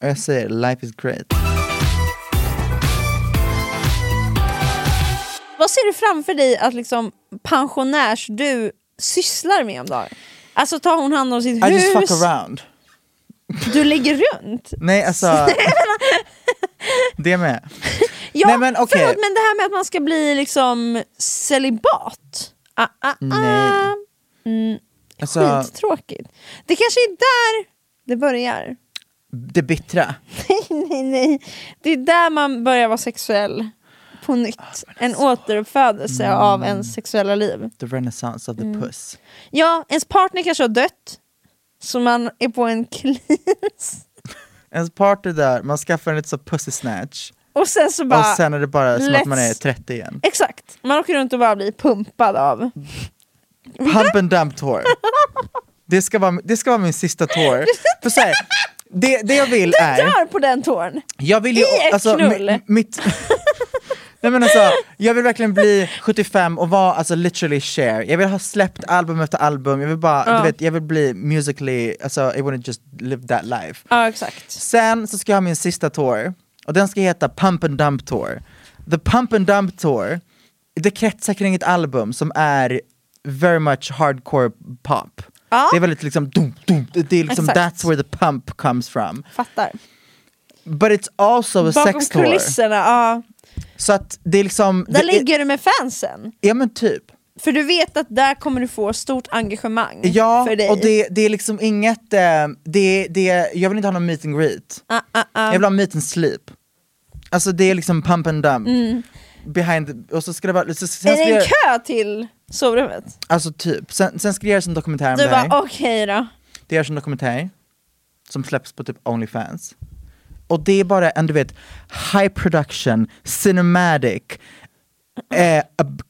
Speaker 2: Och jag säger life is great.
Speaker 1: Vad ser du framför dig att liksom pensionärs-du sysslar med om dagen? Alltså tar hon hand om sitt
Speaker 2: I just fuck
Speaker 1: hus,
Speaker 2: around.
Speaker 1: du ligger runt. <laughs>
Speaker 2: Nej alltså. det med.
Speaker 1: Ja,
Speaker 2: Nej, men okej.
Speaker 1: förlåt, men det här med att man ska bli liksom celibat. Ah, ah, ah.
Speaker 2: Nej. Alltså
Speaker 1: Skittråkigt. Det kanske är där det börjar. <laughs>
Speaker 2: det bittra.
Speaker 1: Nej, nej, nej. Det är där man börjar vara sexuell på nytt.
Speaker 2: Ah,
Speaker 1: en
Speaker 2: alltså.
Speaker 1: återuppfödelse
Speaker 2: Mm.
Speaker 1: av ens sexuella liv.
Speaker 2: The renaissance of the
Speaker 1: Mm.
Speaker 2: puss.
Speaker 1: Ja, ens partner kanske har dött. Så man är på en <laughs> cleans.
Speaker 2: Ens party där, man skaffar en lite så pussy snatch.
Speaker 1: Och sen så
Speaker 2: Och
Speaker 1: bara...
Speaker 2: sen är det bara som att man är
Speaker 1: let's-
Speaker 2: 30 igen.
Speaker 1: Exakt. Man åker runt och bara blir pumpad av...
Speaker 2: Pump and dump tour. Det ska vara, det ska vara min sista tour. För så här, det, det jag vill
Speaker 1: Du
Speaker 2: är...
Speaker 1: dör på den tårn!
Speaker 2: Jag vill ju,
Speaker 1: I ett
Speaker 2: alltså,
Speaker 1: knull.
Speaker 2: mi- mitt, <laughs> nej men alltså, jag vill verkligen bli 75 och vara alltså, literally share. Jag vill ha släppt album efter album, jag vill bara,
Speaker 1: Ja.
Speaker 2: du vet, jag vill bli musically, alltså I wanna just live that life.
Speaker 1: Ja, exakt.
Speaker 2: Sen så ska jag ha min sista tour, och den ska heta Pump and Dump Tour. The Pump and Dump Tour, det kretsar kring ett album som är very much hardcore pop.
Speaker 1: Ja.
Speaker 2: Det är väldigt liksom, dum, dum, det är liksom
Speaker 1: Exakt.
Speaker 2: that's where the pump comes from.
Speaker 1: Fattar.
Speaker 2: But it's also a
Speaker 1: Bakom
Speaker 2: sex tour.
Speaker 1: kulisserna, ja.
Speaker 2: Så att det är liksom...
Speaker 1: Där
Speaker 2: det,
Speaker 1: ligger du med fansen.
Speaker 2: Är, ja men typ.
Speaker 1: För du vet att där kommer du få stort engagemang
Speaker 2: Ja,
Speaker 1: för dig.
Speaker 2: och det, det är liksom inget... Eh, det, det, jag vill inte ha någon meet and greet.
Speaker 1: Ah, ah, ah.
Speaker 2: Jag vill ha meet and sleep. Alltså det är liksom pump and dump. Behind the, och så ska det vara... Så, sen
Speaker 1: Mm. Är
Speaker 2: ska
Speaker 1: det en
Speaker 2: jag,
Speaker 1: kö till sovrummet?
Speaker 2: alltså typ. Sen, sen ska det göras en dokumentär om
Speaker 1: Du
Speaker 2: det här.
Speaker 1: bara okej då.
Speaker 2: Det görs en dokumentär som släpps på typ Onlyfans. Och det är bara en du vet, high production, cinematic, eh, ab-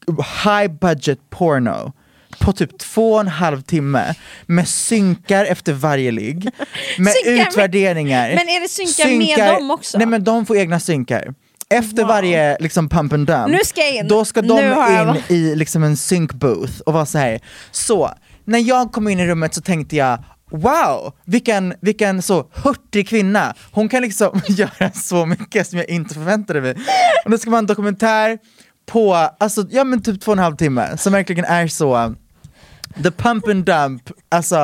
Speaker 2: high budget porno på typ två och en halv timme med synkar efter varje ligg, med
Speaker 1: Synkar med-
Speaker 2: utvärderingar.
Speaker 1: Men är det synkar med dem också?
Speaker 2: Nej men de får egna synkar. Efter varje liksom pump and dump,
Speaker 1: Nu ska jag in.
Speaker 2: då ska de
Speaker 1: Nu har jag-
Speaker 2: in i liksom en sync booth och vara så här. Så, när jag kom in i rummet så tänkte jag Wow, vilken, vilken så hurtig kvinna! Hon kan liksom <laughs> göra så mycket som jag inte förväntade mig. Och då ska man ha en dokumentär på, alltså, ja men typ två och en halv timme, som verkligen är så the pump and dump, alltså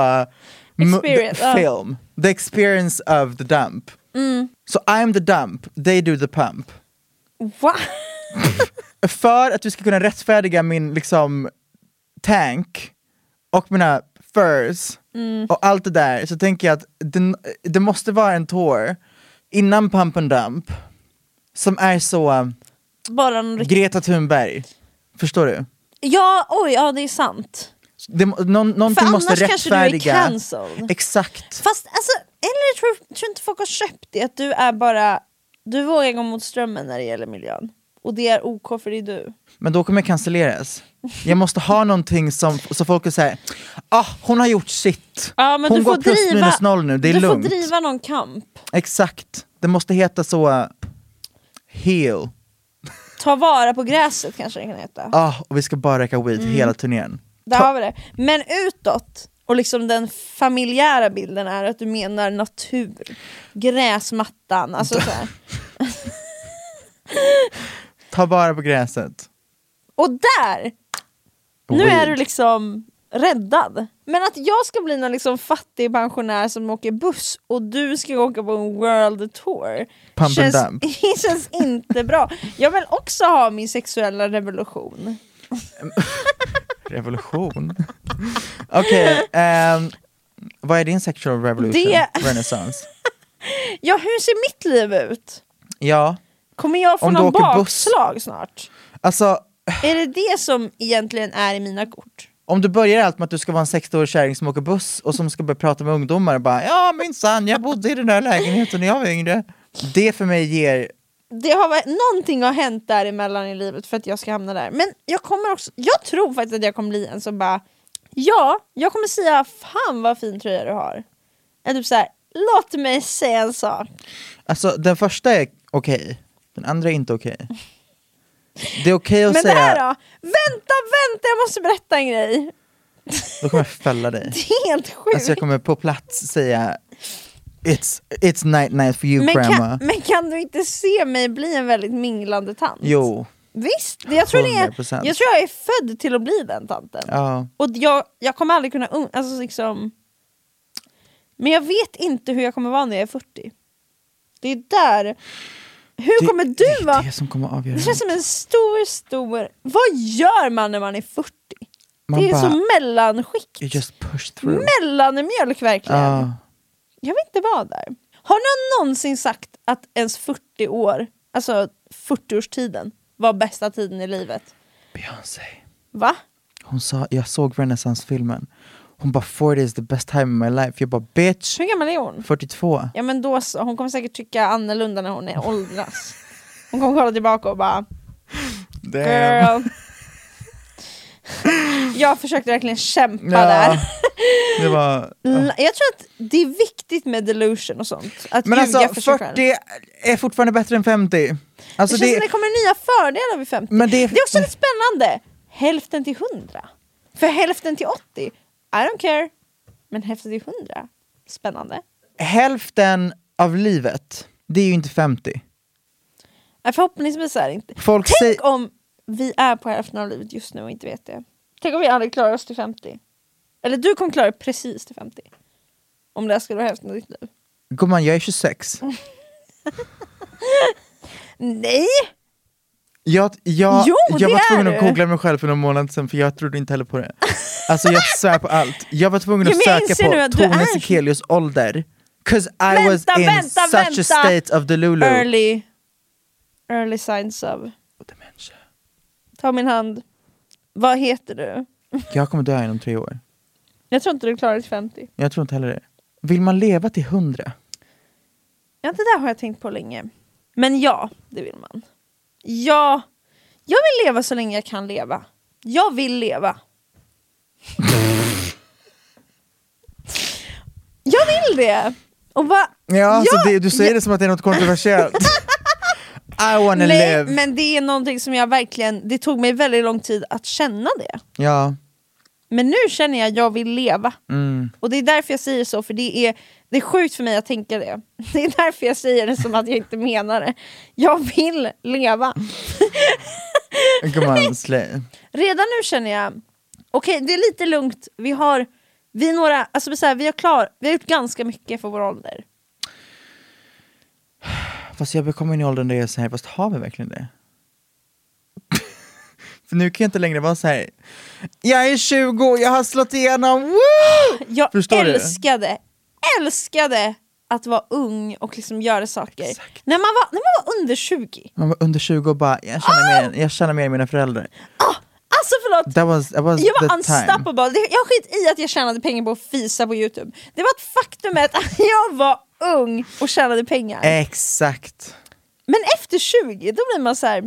Speaker 2: m-
Speaker 1: Experience, uh.
Speaker 2: the
Speaker 1: ja.
Speaker 2: film, the experience of the dump.
Speaker 1: Mm.
Speaker 2: Så I'm the dump, they do the pump
Speaker 1: Va?
Speaker 2: för att du ska kunna rättfärdiga min liksom tank och mina furs
Speaker 1: Mm.
Speaker 2: och allt det där så tänker jag att det, det måste vara en tår innan pump and dump som är så um,
Speaker 1: Bara någon rikt-
Speaker 2: Greta Thunberg. Förstår du?
Speaker 1: Ja, oj, ja det är sant.
Speaker 2: Det, må- någon, någonting
Speaker 1: För
Speaker 2: måste
Speaker 1: annars kanske du är
Speaker 2: rättfärdiga.
Speaker 1: cancelled.
Speaker 2: Exakt.
Speaker 1: Fast alltså, eller jag tror, tror inte folk har köpt det att du är bara, du vågar gå mot strömmen när det gäller miljön. Och det är OK för det är du.
Speaker 2: Men då kommer jag cancelleras. Jag måste ha någonting som så folk är såhär, ah hon har gjort sitt.
Speaker 1: Ja, men
Speaker 2: hon
Speaker 1: du
Speaker 2: går
Speaker 1: får
Speaker 2: plus
Speaker 1: driva,
Speaker 2: minus noll nu, det är
Speaker 1: du
Speaker 2: lugnt.
Speaker 1: får driva någon kamp.
Speaker 2: Exakt. Det måste heta så... Uh, heal.
Speaker 1: Ta vara på gräset kanske det kan heta.
Speaker 2: Ah, och vi ska bara röka weed
Speaker 1: Mm.
Speaker 2: hela turnén.
Speaker 1: Där har vi det. Men utåt, och liksom den familjära bilden är att du menar natur, gräsmattan, alltså så här.
Speaker 2: Ta vara på gräset.
Speaker 1: Och där! Nu
Speaker 2: Weed.
Speaker 1: är du liksom räddad. Men att jag ska bli någon liksom fattig pensionär som åker buss och du ska åka på en world tour
Speaker 2: Pump
Speaker 1: känns,
Speaker 2: and dump.
Speaker 1: <laughs> känns inte bra. Jag vill också ha min sexuella revolution. liksom-
Speaker 2: Revolution. Okej,
Speaker 1: <laughs>
Speaker 2: ehm, vad är din sexual revolution?
Speaker 1: Det-
Speaker 2: Renaissance?
Speaker 1: Ja, hur ser mitt liv ut?
Speaker 2: Ja,
Speaker 1: Kommer jag få
Speaker 2: Om du
Speaker 1: någon
Speaker 2: åker buss.
Speaker 1: bakslag snart?
Speaker 2: alltså
Speaker 1: Är det det som egentligen är i mina kort?
Speaker 2: om du börjar allt med att du ska vara en 60-årig kärring som åker buss och som ska börja prata med ungdomar och bara ja minsann jag bodde i den där lägenheten när jag var yngre. Det för mig ger
Speaker 1: Det har varit, någonting har hänt däremellan i livet för att jag ska hamna där. Men jag kommer också, jag tror faktiskt att jag kommer bli en som bara Ja, jag kommer säga fan vad fin tröja du har. Eller typ såhär, låt mig säga en sak.
Speaker 2: Alltså den första är okej, den andra är inte okej. Det är okej att
Speaker 1: Men det
Speaker 2: säga,
Speaker 1: här då? Vänta, vänta, jag måste berätta en grej. <laughs>
Speaker 2: då kommer jag fälla dig.
Speaker 1: Det är helt sjukt.
Speaker 2: Alltså jag kommer på plats säga It's, it's night night for you
Speaker 1: men,
Speaker 2: grandma.
Speaker 1: kan, men kan du inte se mig bli en väldigt minglande tant?
Speaker 2: Jo,
Speaker 1: Visst, det- jag tror, det är,
Speaker 2: 100%.
Speaker 1: jag tror jag är född till att bli den tanten.
Speaker 2: ja.
Speaker 1: Och jag, jag kommer aldrig kunna... un- Alltså liksom, men jag vet inte hur jag kommer vara när jag är 40. Det är där... Hur
Speaker 2: Det-
Speaker 1: kommer
Speaker 2: det
Speaker 1: du
Speaker 2: är
Speaker 1: vara?
Speaker 2: det som kommer avgöra.
Speaker 1: Det känns som en stor, stor... Vad gör man när man är 40?
Speaker 2: Man
Speaker 1: det är
Speaker 2: bara,
Speaker 1: så mellanskikt.
Speaker 2: you just push through. Ah.
Speaker 1: Mellanmjölk verkligen.
Speaker 2: Ja.
Speaker 1: Jag vill inte vara där. Har någon någonsin sagt att ens 40 år, alltså 40-årstiden, var bästa tiden i livet?
Speaker 2: Beyoncé.
Speaker 1: Va?
Speaker 2: Hon sa, jag såg Renaissance-filmen. Hon bara 40 is the best time in my life. Jag bara bitch,
Speaker 1: Hur gammal är hon?
Speaker 2: 42.
Speaker 1: Ja men då så, hon kommer säkert tycka annorlunda när hon är åldras. Hon kommer kolla tillbaka och bara girl. Jag försökte verkligen kämpa där.
Speaker 2: Ja, det var...
Speaker 1: L- Jag tror att det är viktigt med delusion och sånt. Att
Speaker 2: Men
Speaker 1: ljuga
Speaker 2: alltså
Speaker 1: för sig själv.
Speaker 2: 40 är fortfarande bättre än 50. Alltså,
Speaker 1: det känns som det kommer nya fördelar vid 50.
Speaker 2: Men
Speaker 1: det,
Speaker 2: det
Speaker 1: är...
Speaker 2: är-
Speaker 1: också lite spännande. Hälften till 100. För hälften till 80, I don't care. Men hälften till 100, spännande.
Speaker 2: hälften av livet, det är ju inte 50.
Speaker 1: Nej, Förhoppningsvis är det inte.
Speaker 2: Folk
Speaker 1: Tänk
Speaker 2: säger-
Speaker 1: om vi är på hälften av livet just nu och inte vet det. Tänk om vi aldrig klarar oss till 50. Eller du kommer klara dig precis till 50. Om det här skulle vara hälften av ditt liv.
Speaker 2: Gumman, jag är 26.
Speaker 1: Nej!
Speaker 2: Jag, jag,
Speaker 1: Jo,
Speaker 2: jag
Speaker 1: det
Speaker 2: var tvungen
Speaker 1: är
Speaker 2: att
Speaker 1: du.
Speaker 2: googla mig själv för någon månad sedan för jag trodde inte heller på det. Alltså
Speaker 1: <laughs>
Speaker 2: jag svär på allt. Jag var tvungen
Speaker 1: Ja,
Speaker 2: att
Speaker 1: men jag inser
Speaker 2: söka
Speaker 1: nu
Speaker 2: på
Speaker 1: att du är-
Speaker 2: Tone Sekelius ålder. Cause I was
Speaker 1: Vänta,
Speaker 2: in
Speaker 1: vänta,
Speaker 2: such
Speaker 1: vänta.
Speaker 2: a state of delulu.
Speaker 1: Early, early signs of.
Speaker 2: Dementia.
Speaker 1: Ta min hand. Vad heter du?
Speaker 2: Jag kommer dö inom tre år.
Speaker 1: Jag tror inte du klarar dig till 50.
Speaker 2: Jag tror inte heller det. Vill man leva till 100?
Speaker 1: Ja, det där har jag tänkt på länge. Men ja, det vill man. Ja, jag vill leva så länge jag kan leva. Jag vill leva. <laughs> jag vill det! Och va?
Speaker 2: Ja, alltså det, du säger
Speaker 1: ja,
Speaker 2: det som att det är något kontroversiellt.
Speaker 1: <laughs>
Speaker 2: I wanna
Speaker 1: Nej,
Speaker 2: live.
Speaker 1: men det är någonting som jag verkligen, det tog mig väldigt lång tid att känna det.
Speaker 2: Ja.
Speaker 1: Men nu känner jag att jag vill leva.
Speaker 2: Mm.
Speaker 1: Och det är därför jag säger så, för det är, det är sjukt för mig att tänka det. <laughs> Det är därför jag säger det som att jag inte menar det. Jag vill leva.
Speaker 2: Gumman, slay.
Speaker 1: Redan nu känner jag, okej det är lite lugnt, vi har, vi är några, alltså så här, vi har klar, vi har gjort ganska mycket för vår
Speaker 2: <gasps>
Speaker 1: ålder.
Speaker 2: Fast jag börjar komma in i åldern där jag är så här, fast har vi verkligen det? <laughs> För nu kan jag inte längre vara så här. jag är 20 och jag har slått igenom, woo!
Speaker 1: Jag
Speaker 2: Förstår du?
Speaker 1: älskade, älskade att vara ung och liksom göra saker.
Speaker 2: Exakt.
Speaker 1: När, man var, när man var under 20,
Speaker 2: Man var under 20 och bara, jag känner
Speaker 1: Ah!
Speaker 2: mer, än- jag känner mer än mina föräldrar.
Speaker 1: alltså förlåt,
Speaker 2: Ah! That was, that was
Speaker 1: Jag var
Speaker 2: the time.
Speaker 1: unstoppable, Det- jag skit i att jag tjänade pengar på att fisa på youtube Det var ett faktumet att <laughs> jag var ung och tjänade pengar
Speaker 2: Eh. Exakt.
Speaker 1: Men efter 20 då blir man så här.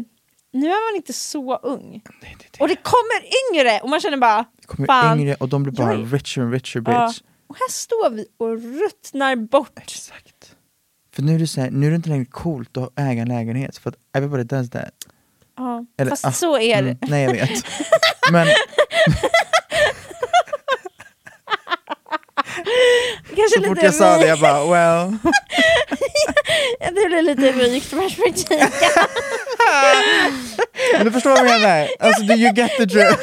Speaker 1: nu är man inte så ung
Speaker 2: Det, är det,
Speaker 1: Och det kommer yngre och man känner bara
Speaker 2: det kommer
Speaker 1: fan, Ah.
Speaker 2: yngre och de blir bara
Speaker 1: jag är-
Speaker 2: richer and richer bitch.
Speaker 1: ja. Och här står vi och ruttnar bort
Speaker 2: Exakt. För nu är det så här, nu är det inte längre coolt att äga en lägenhet för att everybody does that.
Speaker 1: ja.
Speaker 2: Eller,
Speaker 1: Fast
Speaker 2: ah,
Speaker 1: så är <laughs> det
Speaker 2: Mm, nej jag vet. Men
Speaker 1: Kanske
Speaker 2: så fort
Speaker 1: lite
Speaker 2: jag sa det
Speaker 1: vi-
Speaker 2: jag bara well.
Speaker 1: <laughs> det blir lite rykt
Speaker 2: <laughs>
Speaker 1: perspektiv.
Speaker 2: Men du förstår vad jag menar? Alltså do you get the drift?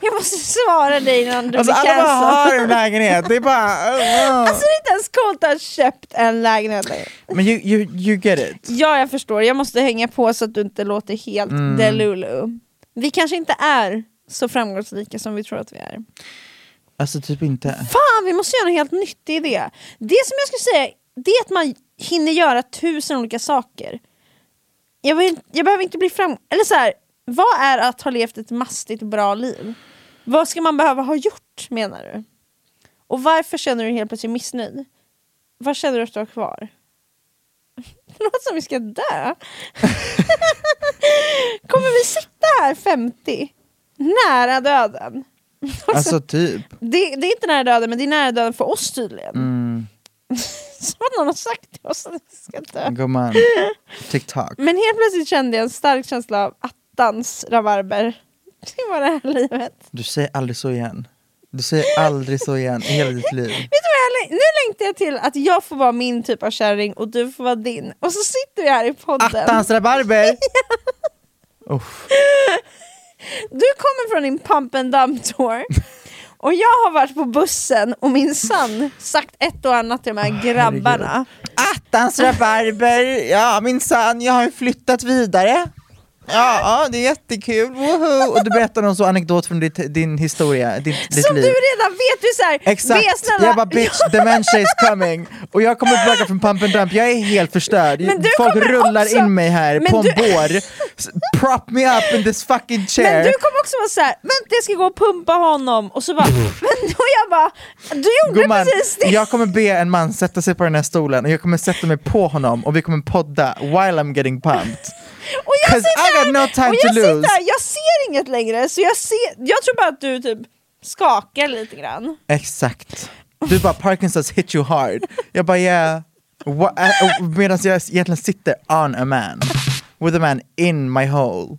Speaker 1: Jag måste svara dig innan du
Speaker 2: Alltså
Speaker 1: blir
Speaker 2: alla bara
Speaker 1: cancelled. <laughs>
Speaker 2: har en lägenhet, det är bara... oh,
Speaker 1: Alltså det är inte ens coolt att ha köpt en lägenhet längre.
Speaker 2: Men you, you, you get it.
Speaker 1: Ja jag förstår, jag måste hänga på så att du inte låter helt
Speaker 2: Mm.
Speaker 1: delulu. Vi kanske inte är så framgångsrika som vi tror att vi är.
Speaker 2: Alltså
Speaker 1: <laughs>
Speaker 2: typ inte.
Speaker 1: Fan vi måste göra en helt nytt idé. Det som jag skulle säga, det är att man hinner göra tusen olika saker. Jag, vill, jag behöver inte bli fram... Eller så här, vad är att ha levt ett mastigt bra liv? Vad ska man behöva ha gjort menar du? Och varför känner du dig helt plötsligt missnöjd? Vad känner du att du har kvar? <laughs> Det låter som vi ska dö. <laughs> Kommer vi sitta här 50? Nära döden?
Speaker 2: Alltså typ.
Speaker 1: Det, det är inte nära döden, men det är nära döden för oss tydligen.
Speaker 2: Mm.
Speaker 1: <laughs> Som att någon har sagt till oss att vi ska dö.
Speaker 2: Gumman. TikTok.
Speaker 1: Men helt plötsligt kände jag en stark känsla av attans rabarber. Det var det här livet.
Speaker 2: Du säger aldrig så igen. Du säger aldrig så igen i hela
Speaker 1: <laughs>
Speaker 2: ditt liv.
Speaker 1: Vet du vad jag, läng- nu längtar jag till att jag får vara min typ av kärring och du får vara din. Och så sitter vi här i podden. <laughs>
Speaker 2: Attans rabarber! Uff.
Speaker 1: Du kommer från din pump and dump
Speaker 2: <laughs>
Speaker 1: tour. Och jag har varit på bussen och min son sagt ett och annat till de här grabbarna.
Speaker 2: Attans rabarber! Ja minsann, jag har ju flyttat vidare. Ja, ja, det är jättekul, woho! Och du berättar någon så anekdot från ditt, din historia, ditt, ditt
Speaker 1: Som du
Speaker 2: liv.
Speaker 1: redan vet, du är såhär, be
Speaker 2: Exakt!
Speaker 1: snälla.
Speaker 2: Jag
Speaker 1: <laughs>
Speaker 2: bara bitch, dementia is coming! Och jag kommer tillbaka från pump and dump, jag är helt förstörd.
Speaker 1: Men du
Speaker 2: Folk
Speaker 1: kommer
Speaker 2: rullar
Speaker 1: också-
Speaker 2: in mig här
Speaker 1: Men
Speaker 2: på en
Speaker 1: du-
Speaker 2: bår. S- Prop me up in this fucking chair.
Speaker 1: Men du kommer också vara såhär, vänta jag ska gå och pumpa honom och så bara, men då jag bara, du gjorde
Speaker 2: Mm. Gumman,
Speaker 1: precis det!
Speaker 2: jag kommer be en man sätta sig på den här stolen och jag kommer sätta mig på honom och vi kommer podda while I'm getting pumped.
Speaker 1: och jag
Speaker 2: 'cause
Speaker 1: sitter
Speaker 2: I got
Speaker 1: här-
Speaker 2: no time
Speaker 1: och
Speaker 2: to
Speaker 1: jag
Speaker 2: lose.
Speaker 1: sitter här, jag ser inget längre så jag ser, jag tror bara att du typ skakar lite grann.
Speaker 2: Exakt. Du bara Parkinsons hit you hard. Jag bara yeah. Wha- äh, och Medan jag egentligen sitter on a man. With a man in my hole.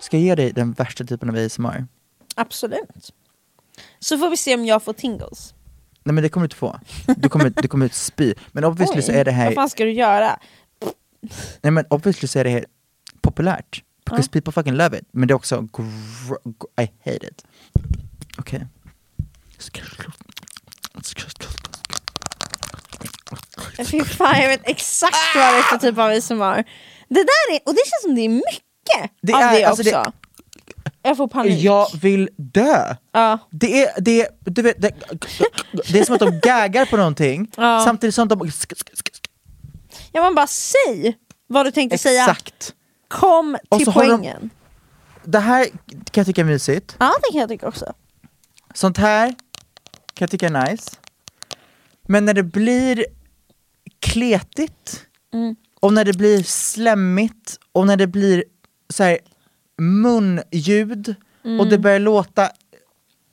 Speaker 2: Ska jag ge dig den värsta typen av ASMR?
Speaker 1: Absolut. Så får vi se om jag får tingles.
Speaker 2: Nej men det kommer du inte få. Du kommer, du kommer spy. Men obviously så är det
Speaker 1: Vad
Speaker 2: här,
Speaker 1: fan ska du göra?
Speaker 2: nej men obviously så är det här populärt. Because people fucking love it. Men det är också, gr- gr- I hate it. Okej.
Speaker 1: Fy fan jag vet exakt vad det är för typ av ASMR. Det där är, och det känns som det är mycket
Speaker 2: Det
Speaker 1: av
Speaker 2: är-
Speaker 1: det
Speaker 2: alltså det-
Speaker 1: också. Jag får panik.
Speaker 2: Jag vill dö!
Speaker 1: Ja.
Speaker 2: Det är, det är, du vet, det, det är som att de gaggar på någonting,
Speaker 1: Ja.
Speaker 2: samtidigt som de...
Speaker 1: Ja man bara säg vad du tänkte säga.
Speaker 2: Exakt!
Speaker 1: Kom
Speaker 2: Och
Speaker 1: till
Speaker 2: så har de-
Speaker 1: poängen.
Speaker 2: Det här kan jag tycka är mysigt,
Speaker 1: Ja det kan jag tycka också.
Speaker 2: sånt här kan jag tycka är nice. Men när det blir kletigt,
Speaker 1: Mm.
Speaker 2: och när det blir slemmigt, och när det blir så här, munljud, och
Speaker 1: Mm.
Speaker 2: det börjar låta...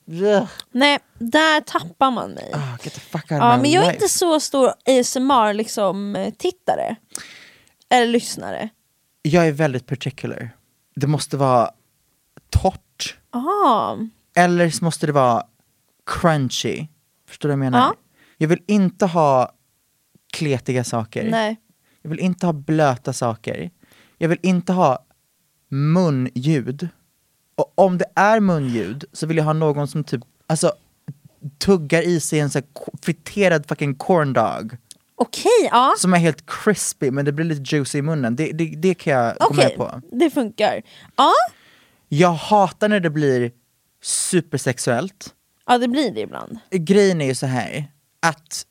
Speaker 2: Ugh, ah,
Speaker 1: Nej, där tappar man mig.
Speaker 2: get the fuck out of
Speaker 1: ja,
Speaker 2: my
Speaker 1: men jag är
Speaker 2: life.
Speaker 1: inte så stor ASMR-tittare. Liksom, tittare. Eller lyssnare.
Speaker 2: Jag är väldigt particular. Det måste vara torrt,
Speaker 1: Ah.
Speaker 2: eller så måste det vara crunchy. Förstår du vad jag menar?
Speaker 1: Ja.
Speaker 2: Jag vill inte ha kletiga saker.
Speaker 1: Nej.
Speaker 2: Jag vill inte ha blöta saker. Jag vill inte ha munljud. Och om det är munljud så vill jag ha någon som typ, alltså tuggar i sig en sån här ko- friterad fucking corn dog
Speaker 1: Okej, ja.
Speaker 2: som är helt crispy men det blir lite juicy i munnen. Det, det, det kan jag gå
Speaker 1: Okej,
Speaker 2: med på.
Speaker 1: det funkar. Ja.
Speaker 2: Jag hatar när det blir supersexuellt.
Speaker 1: ja, det blir det ibland.
Speaker 2: Grejen är ju så här att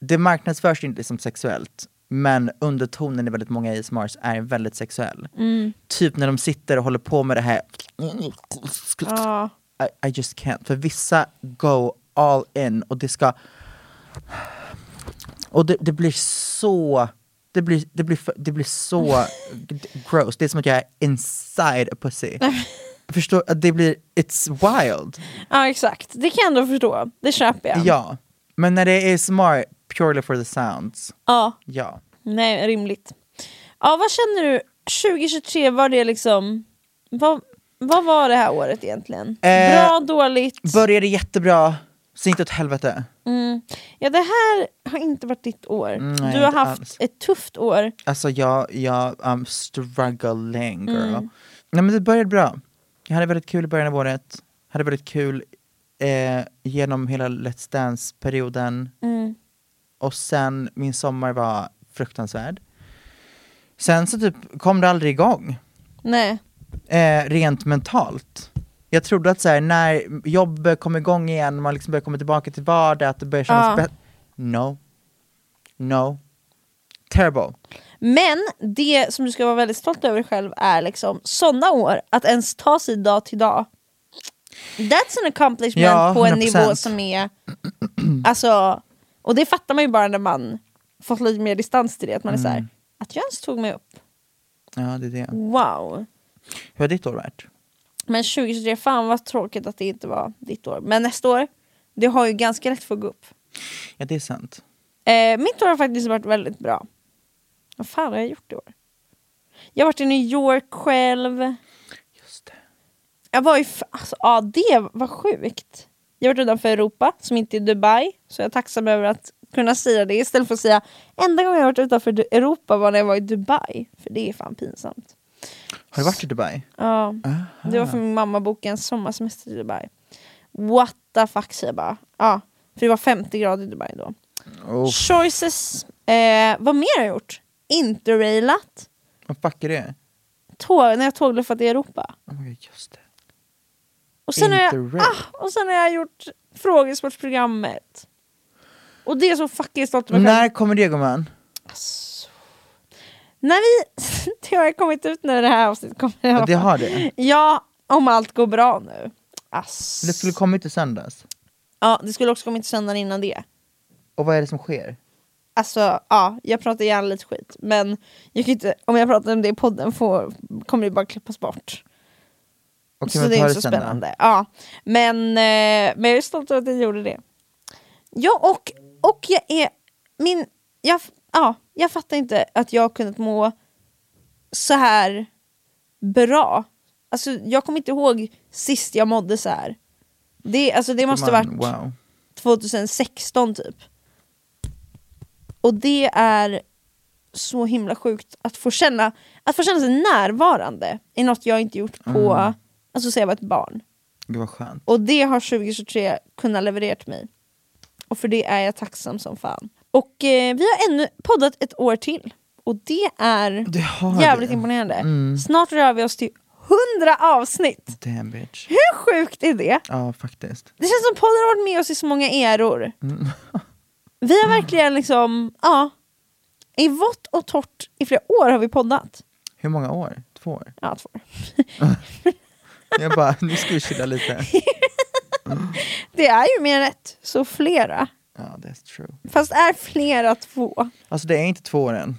Speaker 2: det marknadsförs inte som sexuellt men undertonen i väldigt många ASMRs är väldigt sexuell. Typ när de sitter och håller på med det här
Speaker 1: Ja.
Speaker 2: I, I just can't. För vissa go all in och det ska... Och det, det blir så... Det blir, det, blir, för- det blir så g- gross. Det är som att jag är inside a pussy. Förstår att det blir... It's wild.
Speaker 1: ja, exakt. Det kan jag ändå förstå. Det köper jag.
Speaker 2: Ja. Men när det är smart, purely for the sounds.
Speaker 1: ja.
Speaker 2: Ja.
Speaker 1: Nej, rimligt. Ja, vad känner du? 2023, var det liksom... Vad, vad var det här året egentligen?
Speaker 2: Eh,
Speaker 1: Bra, dåligt?
Speaker 2: Började jättebra, sen gick det åt helvete.
Speaker 1: Mm. Ja, det här har inte varit ditt år.
Speaker 2: Mm, Nej,
Speaker 1: du har
Speaker 2: inte
Speaker 1: haft
Speaker 2: alls.
Speaker 1: ett tufft år.
Speaker 2: Alltså jag, jag, I'm struggling girl. Nej men det började bra. Jag hade väldigt kul i början av året. Hade väldigt kul eh, genom hela Let's Dance-perioden.
Speaker 1: Mm.
Speaker 2: Och sen, min sommar var fruktansvärd. Sen så typ kom det aldrig igång
Speaker 1: Nej.
Speaker 2: eh, rent mentalt. Jag trodde att så här, när jobbet kom igång igen, man liksom börjar komma tillbaka till vardag, att det börjar kännas
Speaker 1: Ja.
Speaker 2: bättre. No. No. Terrible.
Speaker 1: Men det som du ska vara väldigt stolt över själv är liksom sådana år, att ens ta sig dag till dag. That's an accomplishment
Speaker 2: Ja,
Speaker 1: på en
Speaker 2: 100%.
Speaker 1: nivå som är... Alltså, och det fattar man ju bara när man fått lite mer distans till det. Att man är så här, att jag ens tog mig upp.
Speaker 2: Mm. Ja, det är det.
Speaker 1: Wow.
Speaker 2: Hur har ditt år varit?
Speaker 1: Men 2023, fan vad tråkigt att det inte var ditt år. Men nästa år, det har ju ganska lätt för att gå upp.
Speaker 2: Ja, det är sant.
Speaker 1: Eh, mitt år har faktiskt varit väldigt bra. Vad fan har jag gjort i år? Jag har varit i New York själv.
Speaker 2: Just det.
Speaker 1: Jag var ju... f- Alltså, ja, det var sjukt. Jag har varit utanför Europa, som inte är Dubai. Så jag är tacksam över att kunna säga det istället för att säga enda gången jag har varit utanför Du- Europa var när jag var i Dubai. För det är fan pinsamt.
Speaker 2: Har du varit i Dubai?
Speaker 1: Ja, det var för min mamma bokade en sommarsemester i Dubai. What the fuck säger jag bara. Ja, för det var 50 grader i Dubai då.
Speaker 2: Oh,
Speaker 1: Choices. Eh, vad mer har jag gjort? Interrailat.
Speaker 2: vad fuck är det?
Speaker 1: Tåg, när jag tågluffat i Europa.
Speaker 2: Oh my God, just det.
Speaker 1: Och sen, har jag,
Speaker 2: Interrail.
Speaker 1: ah, och sen har jag gjort frågesportprogrammet. Och det är så fucking stolt över mig själv.
Speaker 2: När kommer det gumman?
Speaker 1: När vi... <laughs> det har kommit ut när det här avsnittet kommer.
Speaker 2: Ja, det har det.
Speaker 1: Ja, om allt går bra nu. Ass.
Speaker 2: Det skulle kommit i söndags.
Speaker 1: ja, det skulle också kommit söndagen innan det.
Speaker 2: Och vad är det som sker?
Speaker 1: Alltså ja, jag pratar gärna lite skit men jag kan inte, om jag pratar om det i podden får, kommer det bara klippas bort.
Speaker 2: Okej,
Speaker 1: så
Speaker 2: men
Speaker 1: Alltså, det
Speaker 2: ta
Speaker 1: är inte så
Speaker 2: sen då.
Speaker 1: spännande. Ja. Men, eh, men jag är stolt över att jag gjorde det. Ja och, och jag är, min, jag, ja, jag fattar inte att jag har kunnat må så här bra. Alltså jag kommer inte ihåg sist jag mådde så här. Det, alltså, det måste
Speaker 2: Gumman,
Speaker 1: varit
Speaker 2: Wow.
Speaker 1: 2016 typ. Och det är så himla sjukt att få känna, att få känna sig närvarande i något jag inte gjort på,
Speaker 2: Mm.
Speaker 1: alltså så jag var ett barn.
Speaker 2: Gud vad skönt.
Speaker 1: Och det har 2023 kunnat leverera till mig. Och för det är jag tacksam som fan. Och eh, vi har ännu poddat ett år till. Och det är
Speaker 2: Det har Mm.
Speaker 1: jävligt
Speaker 2: det.
Speaker 1: imponerande. Snart rör vi oss till 100 avsnitt!
Speaker 2: Damn bitch.
Speaker 1: Hur sjukt är det?
Speaker 2: Ja, faktiskt.
Speaker 1: Det känns som podden har varit med oss i så många eror. Vi har verkligen liksom, ja. I vått och torrt i flera år har vi poddat.
Speaker 2: Hur många år? Två år?
Speaker 1: Ja, två år.
Speaker 2: Jag bara, <laughs> nu ska vi chilla lite.
Speaker 1: Det är ju mer än ett, så flera.
Speaker 2: Ja, that's true.
Speaker 1: Fast är flera två?
Speaker 2: Alltså det är inte två år än.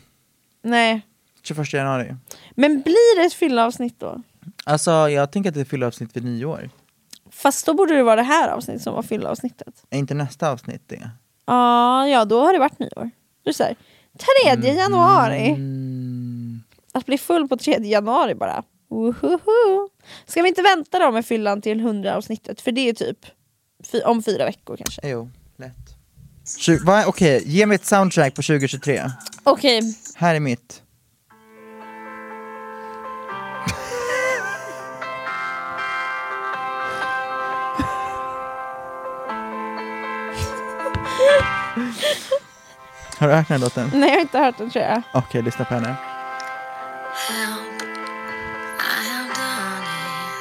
Speaker 1: Nej.
Speaker 2: 21 januari.
Speaker 1: Men blir det ett fyllavsnitt då?
Speaker 2: Alltså jag tänker att det är fyllavsnitt vid nyår.
Speaker 1: Fast då borde det vara det här avsnittet som var fyllavsnittet.
Speaker 2: Är inte nästa avsnitt det?
Speaker 1: Ja, ja, då har det varit nyår. Du säger 3 januari.
Speaker 2: Mm.
Speaker 1: Att bli full på 3 januari bara. Wohoho. Ska vi inte vänta då med fyllan till 100 avsnittet? För det är ju typ fy- om fyra veckor kanske.
Speaker 2: Jo, lätt. Tju- va? Okej, ge mig ett soundtrack på 2023.
Speaker 1: Okej,
Speaker 2: Här är mitt. Har du hört den här låten?
Speaker 1: Nej, jag har inte hört den tror jag.
Speaker 2: Okej, lyssna på henne.
Speaker 3: I have done it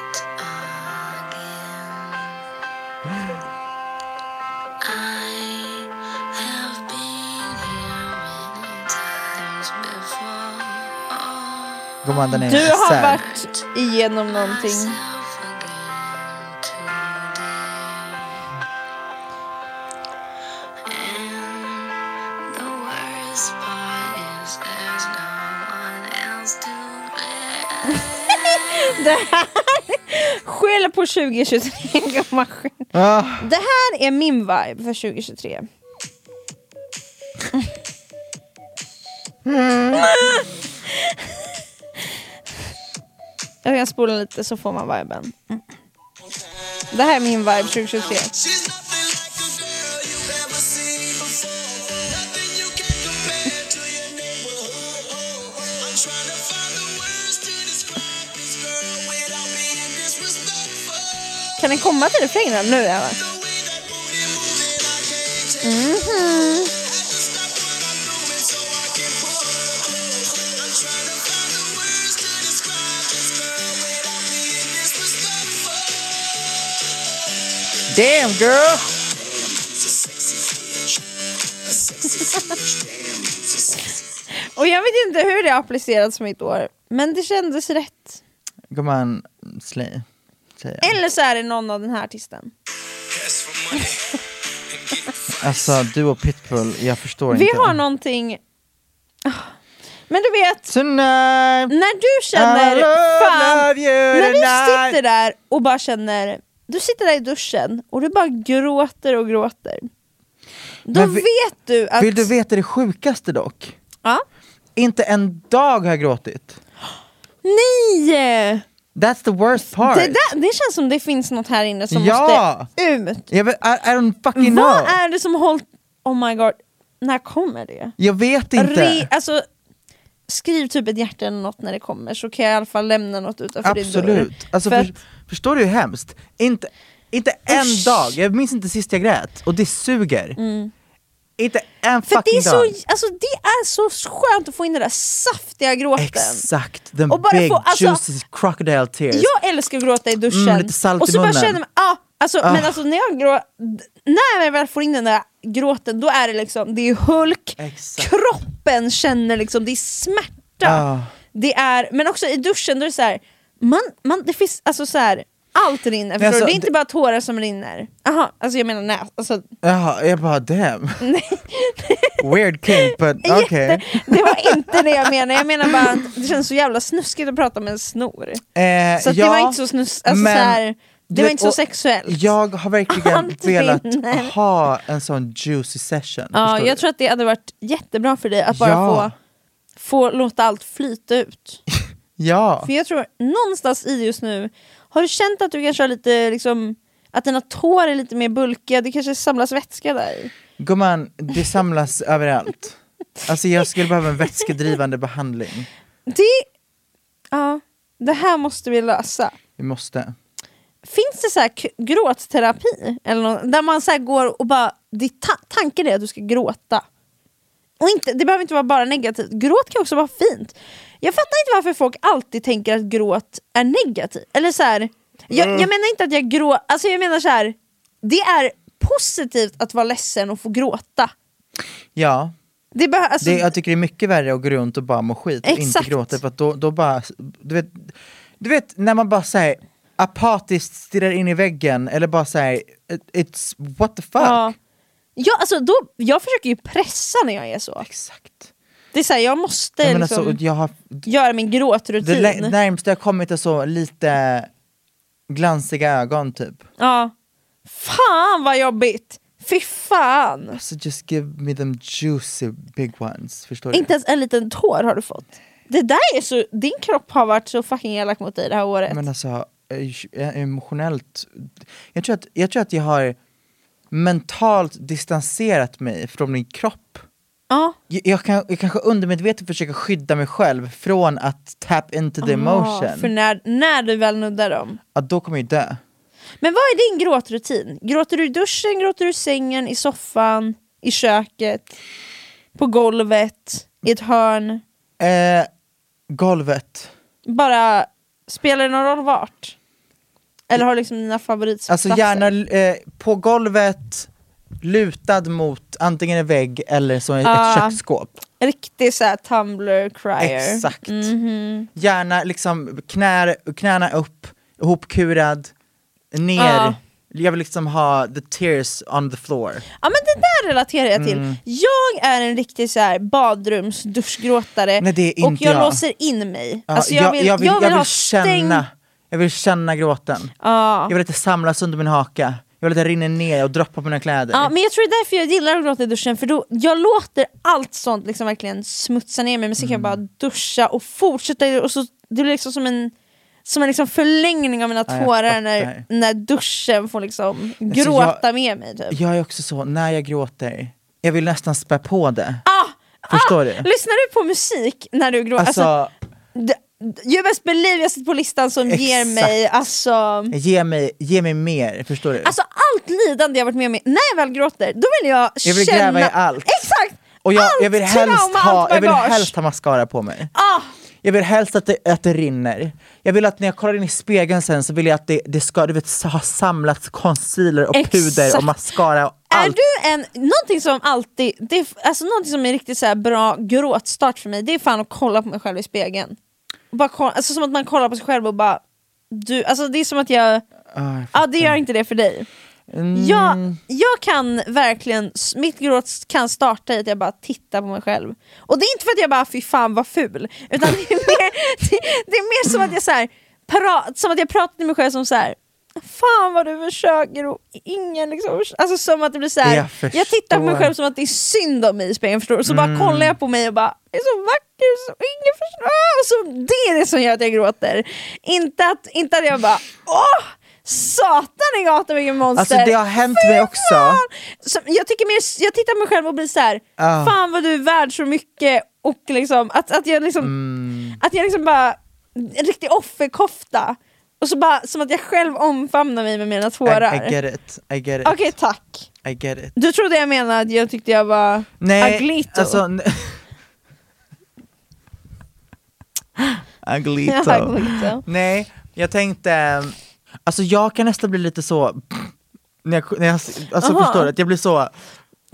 Speaker 3: again. I have been here many times before.
Speaker 2: Gumman, den är
Speaker 1: Du har
Speaker 2: sad.
Speaker 1: varit igenom någonting.
Speaker 3: Myself again today. And the worst part is there's no one else to blame.
Speaker 1: Skäll på 2023 <laughs> gammal skit.
Speaker 2: Ah,
Speaker 1: Det här är min vibe för 2023. <laughs> Jag kan spola lite så får man viben. Det här är min vibe
Speaker 4: She's
Speaker 1: 2023.
Speaker 4: nothing like a girl you've ever seen before. Nothing you can compare to your neighborhood. Oh, I'm trying to find the words to describe this girl without being disrespectful.
Speaker 1: Kan den komma till refrängen nu? Emma?
Speaker 4: The way that booty moving, I can't take. Had to stop what I'm doing so I can pull her close. I'm trying to find the words to describe this girl without being disrespectful.
Speaker 2: damn girl!
Speaker 1: Och jag vet inte hur det har applicerats på mitt år, men det kändes rätt.
Speaker 2: Gumman, slay. säger jag.
Speaker 1: Eller så är det någon av den här artisten.
Speaker 4: Ask for money and get
Speaker 2: Alltså du och Pitbull, jag förstår
Speaker 1: Vi
Speaker 2: inte.
Speaker 1: har någonting... Ah. Men du vet,
Speaker 2: Tonight!
Speaker 1: när du
Speaker 2: I
Speaker 1: känner...
Speaker 2: love,
Speaker 1: Fan,
Speaker 2: love you
Speaker 1: när
Speaker 2: tonight.
Speaker 1: du sitter där och bara känner... Du sitter där i duschen och du bara gråter och gråter. Då
Speaker 2: Men vi-
Speaker 1: vet du att...
Speaker 2: Vill du veta det sjukaste dock?
Speaker 1: Ja.
Speaker 2: Inte en dag har jag gråtit.
Speaker 1: Nej!
Speaker 2: That's the worst part.
Speaker 1: Det, där, det känns som det finns något här inne som
Speaker 2: Ja.
Speaker 1: måste ut.
Speaker 2: Jag vet, I, I don't fucking
Speaker 1: Vad
Speaker 2: know.
Speaker 1: är det som hållt... Oh my god, när kommer det?
Speaker 2: Jag vet inte.
Speaker 1: Re, alltså, skriv typ ett hjärta eller något när det kommer så kan jag i alla fall lämna något utanför din dörr.
Speaker 2: Absolut. Alltså,
Speaker 1: För
Speaker 2: för, förstår du hur hemskt? Inte, inte en
Speaker 1: Usch. Mm.
Speaker 2: dag, jag minns inte sist jag grät. Och det suger. Inte en
Speaker 1: För det
Speaker 2: fucking
Speaker 1: är, så,
Speaker 2: dag.
Speaker 1: alltså, det är så skönt att få in den där saftiga gråten.
Speaker 2: Exakt, the
Speaker 1: Och bara
Speaker 2: big
Speaker 1: få- alltså-
Speaker 2: juicy crocodile tears.
Speaker 1: Jag älskar att gråta i duschen.
Speaker 2: Mm, lite salt i
Speaker 1: och så bara
Speaker 2: munnen.
Speaker 1: känner man, ah, alltså,
Speaker 2: Ah.
Speaker 1: men alltså när jag grå, d- när jag väl får in den där gråten då är det liksom, det är Hulk,
Speaker 2: Exakt.
Speaker 1: kroppen känner liksom, det är smärta.
Speaker 2: Ah.
Speaker 1: Det är, men också i duschen då är det så här, man, man, det finns alltså så här, allt rinner. förstår
Speaker 2: alltså,
Speaker 1: du? det är inte
Speaker 2: det-
Speaker 1: bara tårar som rinner. Aha, alltså jag menar nät. Alltså,
Speaker 2: Jaha, jag
Speaker 1: <laughs>
Speaker 2: bara damn. Weird king but okej.
Speaker 1: jätte, det var inte det jag menade, jag menar bara att det känns så jävla snuskigt att prata med en snor.
Speaker 2: Eh,
Speaker 1: Så att det var inte så snus, alltså
Speaker 2: men
Speaker 1: så här, det
Speaker 2: du
Speaker 1: var
Speaker 2: vet,
Speaker 1: inte så
Speaker 2: och
Speaker 1: sexuellt.
Speaker 2: Jag
Speaker 1: <laughs>
Speaker 2: har verkligen
Speaker 1: Allt
Speaker 2: velat
Speaker 1: vinner.
Speaker 2: ha en sån juicy session.
Speaker 1: ja,
Speaker 2: förstår
Speaker 1: jag
Speaker 2: du?
Speaker 1: tror att det hade varit jättebra för dig att bara få,
Speaker 2: Ja.
Speaker 1: få låta allt flyta ut.
Speaker 2: ja.
Speaker 1: För jag tror någonstans i just nu, har du känt att du kanske har lite liksom att dina tår är lite mer bulkiga, det kanske samlas vätska där i?
Speaker 2: Gumman,
Speaker 1: <laughs>
Speaker 2: det samlas överallt. Alltså jag skulle behöva en vätskedrivande behandling.
Speaker 1: Det, ja, det här måste vi lösa.
Speaker 2: Vi måste.
Speaker 1: Finns det så här k- gråtterapi? Eller något, där man så här går och bara, det, ta, tanken är att du ska gråta. Och inte, det behöver inte vara bara negativt, gråt kan också vara fint. Jag fattar inte varför folk alltid tänker att gråt är negativt. Eller så här, jag,
Speaker 2: Mm.
Speaker 1: jag menar inte att jag gråter, alltså jag menar så här, det är positivt att vara ledsen och få gråta.
Speaker 2: Ja,
Speaker 1: Det behö, alltså,
Speaker 2: det, jag tycker det är mycket värre att gå runt och bara må skit och inte
Speaker 1: Exakt.
Speaker 2: gråta för att då, då bara, du vet, du vet när man bara säger apatiskt stirrar in i väggen eller bara säger it's what the fuck.
Speaker 1: ja. Ja, alltså, då, jag försöker ju pressa när jag är så.
Speaker 2: Exakt.
Speaker 1: Det är så här, jag måste
Speaker 2: Jag, menar,
Speaker 1: liksom,
Speaker 2: så, jag har
Speaker 1: göra min
Speaker 2: alltså, Det
Speaker 1: gråtrutin.
Speaker 2: lä- närmsta jag kommit är så lite glansiga ögon typ.
Speaker 1: Ja. Fan vad jobbigt! Fy fan!
Speaker 2: Alltså just give me them juicy big ones, förstår
Speaker 1: Inte
Speaker 2: du?
Speaker 1: ens en liten tår har du fått. Det där är så, din kropp har varit så fucking elak mot dig det här året.
Speaker 2: Men alltså eh, emotionellt, jag tror, att, jag tror att jag har mentalt distanserat mig från min kropp.
Speaker 1: ja.
Speaker 2: Jag, jag, kan, jag kanske undermedvetet försöker skydda mig själv från att tap into the
Speaker 1: Ja,
Speaker 2: emotion.
Speaker 1: Ah, för när, när du väl nuddar dem.
Speaker 2: Ja, då kommer jag ju dö.
Speaker 1: Men vad är din gråtrutin? Gråter du i duschen, gråter du i sängen, i soffan, i köket? på golvet, i ett hörn.
Speaker 2: Eh, golvet.
Speaker 1: Bara, spelar det någon roll vart? Eller har du liksom dina favoritplatser?
Speaker 2: Alltså gärna eh, på golvet, lutad mot antingen en vägg eller så ett
Speaker 1: Ah.
Speaker 2: köksskåp.
Speaker 1: Riktig såhär Tumblr crier.
Speaker 2: Exakt.
Speaker 1: Mhm.
Speaker 2: Gärna liksom knä, knäna upp, ihopkurad, ner.
Speaker 1: Ja.
Speaker 2: Jag vill liksom ha the tears on the floor.
Speaker 1: Ja men det där relaterar jag till.
Speaker 2: Mm.
Speaker 1: Jag är en riktig så här badrumsduschgråtare
Speaker 2: Nej, det är
Speaker 1: och
Speaker 2: inte
Speaker 1: jag,
Speaker 2: jag.
Speaker 1: låser in mig.
Speaker 2: Ja,
Speaker 1: alltså, jag, vill, jag, vill, ha stäng...
Speaker 2: känna, jag vill känna gråten.
Speaker 1: Ja.
Speaker 2: Jag vill att det samlas under min haka. Jag vill att det rinner ner och droppar på mina kläder.
Speaker 1: Ja, men jag tror det är därför jag gillar att gråta i duschen, för då, jag låter allt sånt liksom verkligen smutsa ner mig, men sen kan
Speaker 2: Mm.
Speaker 1: jag bara duscha och fortsätta, och så, det blir liksom som en, som en liksom förlängning av mina
Speaker 2: jag
Speaker 1: tårar när,
Speaker 2: fattar.
Speaker 1: när duschen får liksom
Speaker 2: Alltså,
Speaker 1: gråta med mig. Typ.
Speaker 2: Jag är också så, när jag gråter, jag vill nästan spä på det. Förstår du?
Speaker 1: Ah! Lyssnar du på musik när du gråter?
Speaker 2: Alltså,
Speaker 1: Alltså, d- d- you best believe jag sitter på listan som ger
Speaker 2: Exakt.
Speaker 1: mig alltså,
Speaker 2: ge, mig, ge mig mer, förstår du?
Speaker 1: alltså allt lidande jag varit med om. i- När jag väl gråter, då vill jag
Speaker 2: Jag
Speaker 1: känna...
Speaker 2: vill gräva i allt.
Speaker 1: Exakt!
Speaker 2: och jag,
Speaker 1: allt
Speaker 2: jag, vill helst
Speaker 1: trauma,
Speaker 2: ha,
Speaker 1: allt
Speaker 2: jag vill
Speaker 1: bagage.
Speaker 2: helst ha mascara på mig.
Speaker 1: Ah,
Speaker 2: Jag vill helst att det, att det rinner. Jag vill att när jag kollar in i spegeln sen så vill jag att det, det ska du vet, ha samlats concealer och
Speaker 1: Exakt.
Speaker 2: puder och mascara och
Speaker 1: är
Speaker 2: allt.
Speaker 1: du en, någonting som alltid, det, är- alltså någonting som är riktigt så här bra gråtstart för mig, det är fan att kolla på mig själv i spegeln. Och bara kolla, alltså som att man kollar på sig själv och bara, du, alltså det är som att jag,
Speaker 2: Ah,
Speaker 1: ja det gör inte det för dig.
Speaker 2: Mm.
Speaker 1: Jag, jag kan verkligen, mitt gråt kan starta i att jag bara tittar på mig själv. Och det är inte för att jag bara fy fan vad ful, utan det är mer, <laughs> det, det är mer som att jag så här, pra, som att jag pratar till mig själv som så här. Fan vad du försöker och ingen liksom... Alltså som att det blir så här.
Speaker 2: Jag
Speaker 1: Jag, tittar på mig
Speaker 2: förstår. Mm.
Speaker 1: själv som att det är synd om mig i spegeln förstår du? Så bara kollar jag på mig och bara, det är så vacker så ingen förstår. Ah, Och så, det är det som gör att jag gråter. Inte att, inte att jag bara, åh! Satan i gatan vilken monster!
Speaker 2: Alltså det har hänt mig också.
Speaker 1: Så jag, tycker mer, jag tittar på mig själv och blir så här.
Speaker 2: Ah.
Speaker 1: fan vad du är värd så mycket och liksom, att, att jag liksom,
Speaker 2: Mm.
Speaker 1: att jag liksom bara, en riktig offerkofta. Och så bara, som att jag själv omfamnar mig med mina tårar.
Speaker 2: I, I get it, I get it,
Speaker 1: Okej tack.
Speaker 2: I get it.
Speaker 1: Du trodde jag menade att jag tyckte jag var aglito.
Speaker 2: alltså... n- <laughs>
Speaker 1: <laughs>
Speaker 2: aglito.
Speaker 1: Ja, aglito.
Speaker 2: Nej, jag tänkte, ehm, alltså jag kan nästan bli lite så, när jag, när jag alltså
Speaker 1: Aha.
Speaker 2: förstår du, att jag blir så,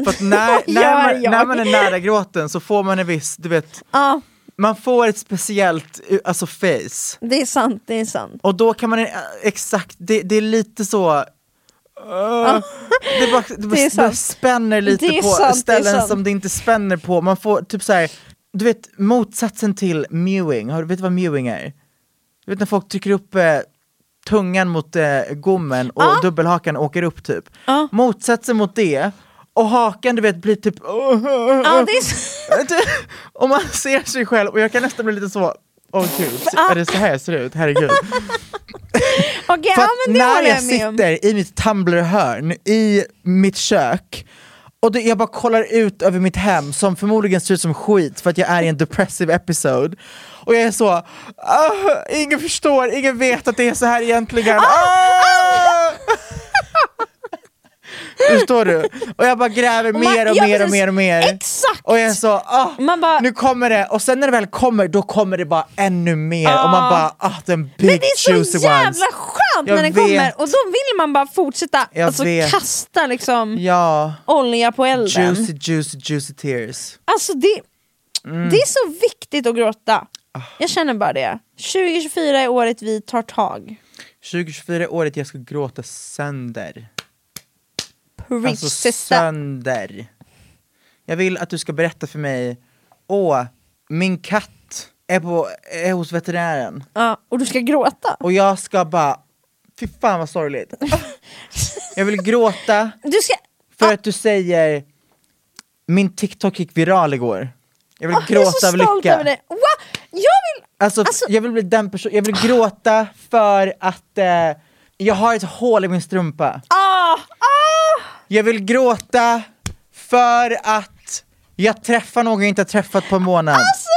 Speaker 2: för att när,
Speaker 1: <laughs>
Speaker 2: när,
Speaker 1: Gör
Speaker 2: man,
Speaker 1: jag.
Speaker 2: när man är nära gråten så får man en viss, du vet,
Speaker 1: Ja,
Speaker 2: man får ett speciellt eh, alltså face.
Speaker 1: det är sant, det är sant.
Speaker 2: Och då kan man, eh, exakt, det, det är lite så, eh, det, bara, det, bara,
Speaker 1: Det är
Speaker 2: det bara
Speaker 1: sant.
Speaker 2: spänner lite
Speaker 1: Det är
Speaker 2: på
Speaker 1: sant, det är
Speaker 2: ställen
Speaker 1: sant.
Speaker 2: som det inte spänner på. Man får typ så här, du vet motsatsen till mewing, Har du- vet du vad mewing är? Du vet när folk trycker upp eh, tungan mot eh, gommen och dubbelhakan åker upp typ.
Speaker 1: Ja.
Speaker 2: Motsatsen mot det, och hakan du vet blir typ <laughs>
Speaker 1: Ja, det är sant.
Speaker 2: om man ser sig själv och jag kan nästan bli lite så, åh gud, är det så här jag ser ut? Herregud.
Speaker 1: Okej,
Speaker 2: För
Speaker 1: ja,
Speaker 2: att
Speaker 1: men det
Speaker 2: när
Speaker 1: håller
Speaker 2: jag
Speaker 1: jag med om.
Speaker 2: sitter i mitt Tumblr-hörn i mitt kök och det, jag bara kollar ut över mitt hem som förmodligen ser ut som skit för att jag är i en depressive episode och jag är så, "Ah, ingen förstår, ingen vet att det är så här egentligen. Ah! <laughs> förstår du? Och jag bara gräver
Speaker 1: Och man-
Speaker 2: mer och
Speaker 1: ja,
Speaker 2: mer och
Speaker 1: precis.
Speaker 2: mer och mer.
Speaker 1: Exakt!
Speaker 2: Och jag är så, ah,
Speaker 1: Man bara-
Speaker 2: nu kommer det, och sen när det väl kommer då kommer det bara ännu mer och man bara, ah den big
Speaker 1: Men det är så
Speaker 2: juicy
Speaker 1: jävla
Speaker 2: ones.
Speaker 1: skönt
Speaker 2: Jag
Speaker 1: när den
Speaker 2: vet.
Speaker 1: kommer och då vill man bara fortsätta
Speaker 2: Jag
Speaker 1: alltså,
Speaker 2: vet.
Speaker 1: kasta liksom
Speaker 2: Ja,
Speaker 1: olja på elden.
Speaker 2: juicy juicy juicy tears.
Speaker 1: Alltså det,
Speaker 2: Mm.
Speaker 1: det är så viktigt att gråta.
Speaker 2: Ah.
Speaker 1: Jag känner bara det. 2024 är året vi tar tag.
Speaker 2: 2024 är året jag ska gråta sönder.
Speaker 1: Preach
Speaker 2: Alltså
Speaker 1: sister.
Speaker 2: sönder. Jag vill att du ska berätta för mig, åh, min katt är, på, är hos veterinären
Speaker 1: Ja, och du ska gråta.
Speaker 2: och jag ska bara, fy fan vad sorgligt. jag vill gråta
Speaker 1: Du ska...
Speaker 2: För att du säger Min TikTok gick viral igår Jag vill
Speaker 1: Åh, jag är
Speaker 2: gråta
Speaker 1: så
Speaker 2: av
Speaker 1: stolt över
Speaker 2: lycka
Speaker 1: det. Wow. Jag vill...
Speaker 2: alltså,
Speaker 1: Alltså-
Speaker 2: jag vill bli den personen, jag vill gråta för att eh, Jag har ett hål i min strumpa
Speaker 1: Ah, ah.
Speaker 2: Jag vill gråta för att jag träffar någon jag inte har träffat på en månad
Speaker 1: Alltså,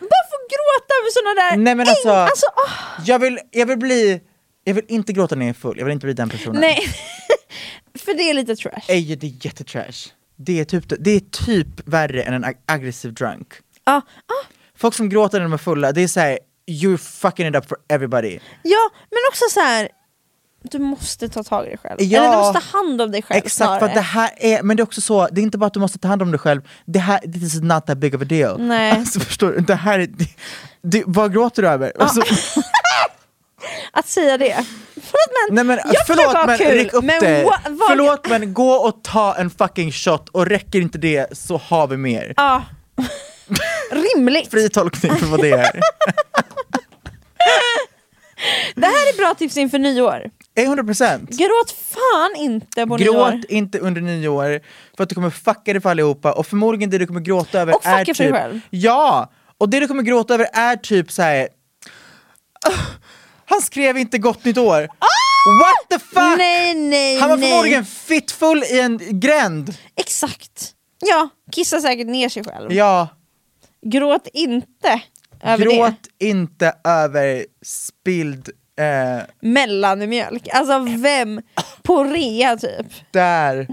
Speaker 1: jag bara få gråta över såna där...
Speaker 2: Nej, men alltså-
Speaker 1: Äng- alltså ah.
Speaker 2: jag, vill, jag vill bli Jag vill
Speaker 1: <laughs>
Speaker 2: inte gråta när jag är full, jag vill inte bli den personen
Speaker 1: Nej, för det är lite trash.
Speaker 2: Ej, det är jättetrash Det är typ, det är typ värre än en ag- aggressiv drunk.
Speaker 1: Ja, ah,
Speaker 2: Folk som gråter när de är fulla, det är såhär you're fucking it up for everybody.
Speaker 1: ja, men också så här. Du måste ta tag i dig själv.
Speaker 2: Ja.
Speaker 1: Eller du måste ta hand om dig själv
Speaker 2: Exakt, för att det här är, men det är också så, det är inte bara att du måste ta hand om dig själv, det här, this is not that big of a deal.
Speaker 1: Nej.
Speaker 2: <laughs> Alltså förstår du, det här är, det, det, vad gråter du över? Alltså,
Speaker 1: Att säga det. Förlåt men,
Speaker 2: nej men
Speaker 1: <laughs> jag försöker
Speaker 2: förlåt
Speaker 1: ha
Speaker 2: men
Speaker 1: kul,
Speaker 2: ryck upp
Speaker 1: men
Speaker 2: dig!
Speaker 1: wa- vad-
Speaker 2: Förlåt men gå och ta en fucking shot och räcker inte det så har vi mer.
Speaker 1: Ja. <laughs> Rimligt.
Speaker 2: Fri tolkning för vad
Speaker 1: <laughs>
Speaker 2: det är.
Speaker 1: Det här är bra tips inför nyår.
Speaker 2: Är 100%!
Speaker 1: Gråt fan inte på
Speaker 2: Gråt
Speaker 1: nyår.
Speaker 2: inte under nyår för att du kommer fucka dig för allihopa och förmodligen det du kommer gråta över
Speaker 1: Och fucka
Speaker 2: är
Speaker 1: för
Speaker 2: typ...
Speaker 1: dig själv.
Speaker 2: Ja! Och det du kommer gråta över är typ så här. "Ah, Han skrev inte gott nytt år! What the fuck!
Speaker 1: Ah! Nej, nej,
Speaker 2: Han var
Speaker 1: nej.
Speaker 2: förmodligen fittfull i en gränd!
Speaker 1: Exakt. Ja, kissa säkert ner sig själv.
Speaker 2: Ja,
Speaker 1: Gråt inte över
Speaker 2: gråt
Speaker 1: det.
Speaker 2: inte över spilld... Eh,
Speaker 1: Mellanmjölk. Alltså vem? På rea typ.
Speaker 2: där,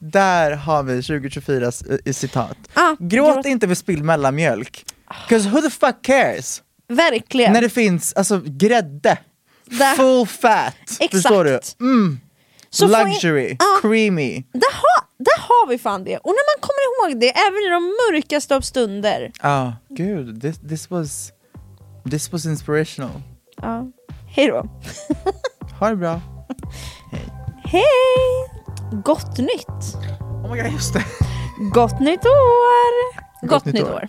Speaker 2: där har vi 2024 i citat.
Speaker 1: Ah,
Speaker 2: gråt,
Speaker 1: gråt-
Speaker 2: inte över spilld mellanmjölk. 'Cause who the fuck cares?
Speaker 1: Verkligen.
Speaker 2: När det finns alltså grädde,
Speaker 1: Där-
Speaker 2: full fat,
Speaker 1: Exakt.
Speaker 2: förstår du? Mm,
Speaker 1: Så får
Speaker 2: luxury,
Speaker 1: jag- Ja.
Speaker 2: creamy.
Speaker 1: Där har, där har vi fan det. Och när man kommer ihåg det, även i de mörkaste av stunder.
Speaker 2: Ja, gud, this, this, was, this was inspirational.
Speaker 1: Ja. Hej då.
Speaker 2: Ha det bra.
Speaker 1: Hej! Gott nytt!
Speaker 2: Oh my god, just det.
Speaker 1: Gott nytt år! Gott,
Speaker 2: nytt
Speaker 1: nytt,
Speaker 2: år.
Speaker 1: år.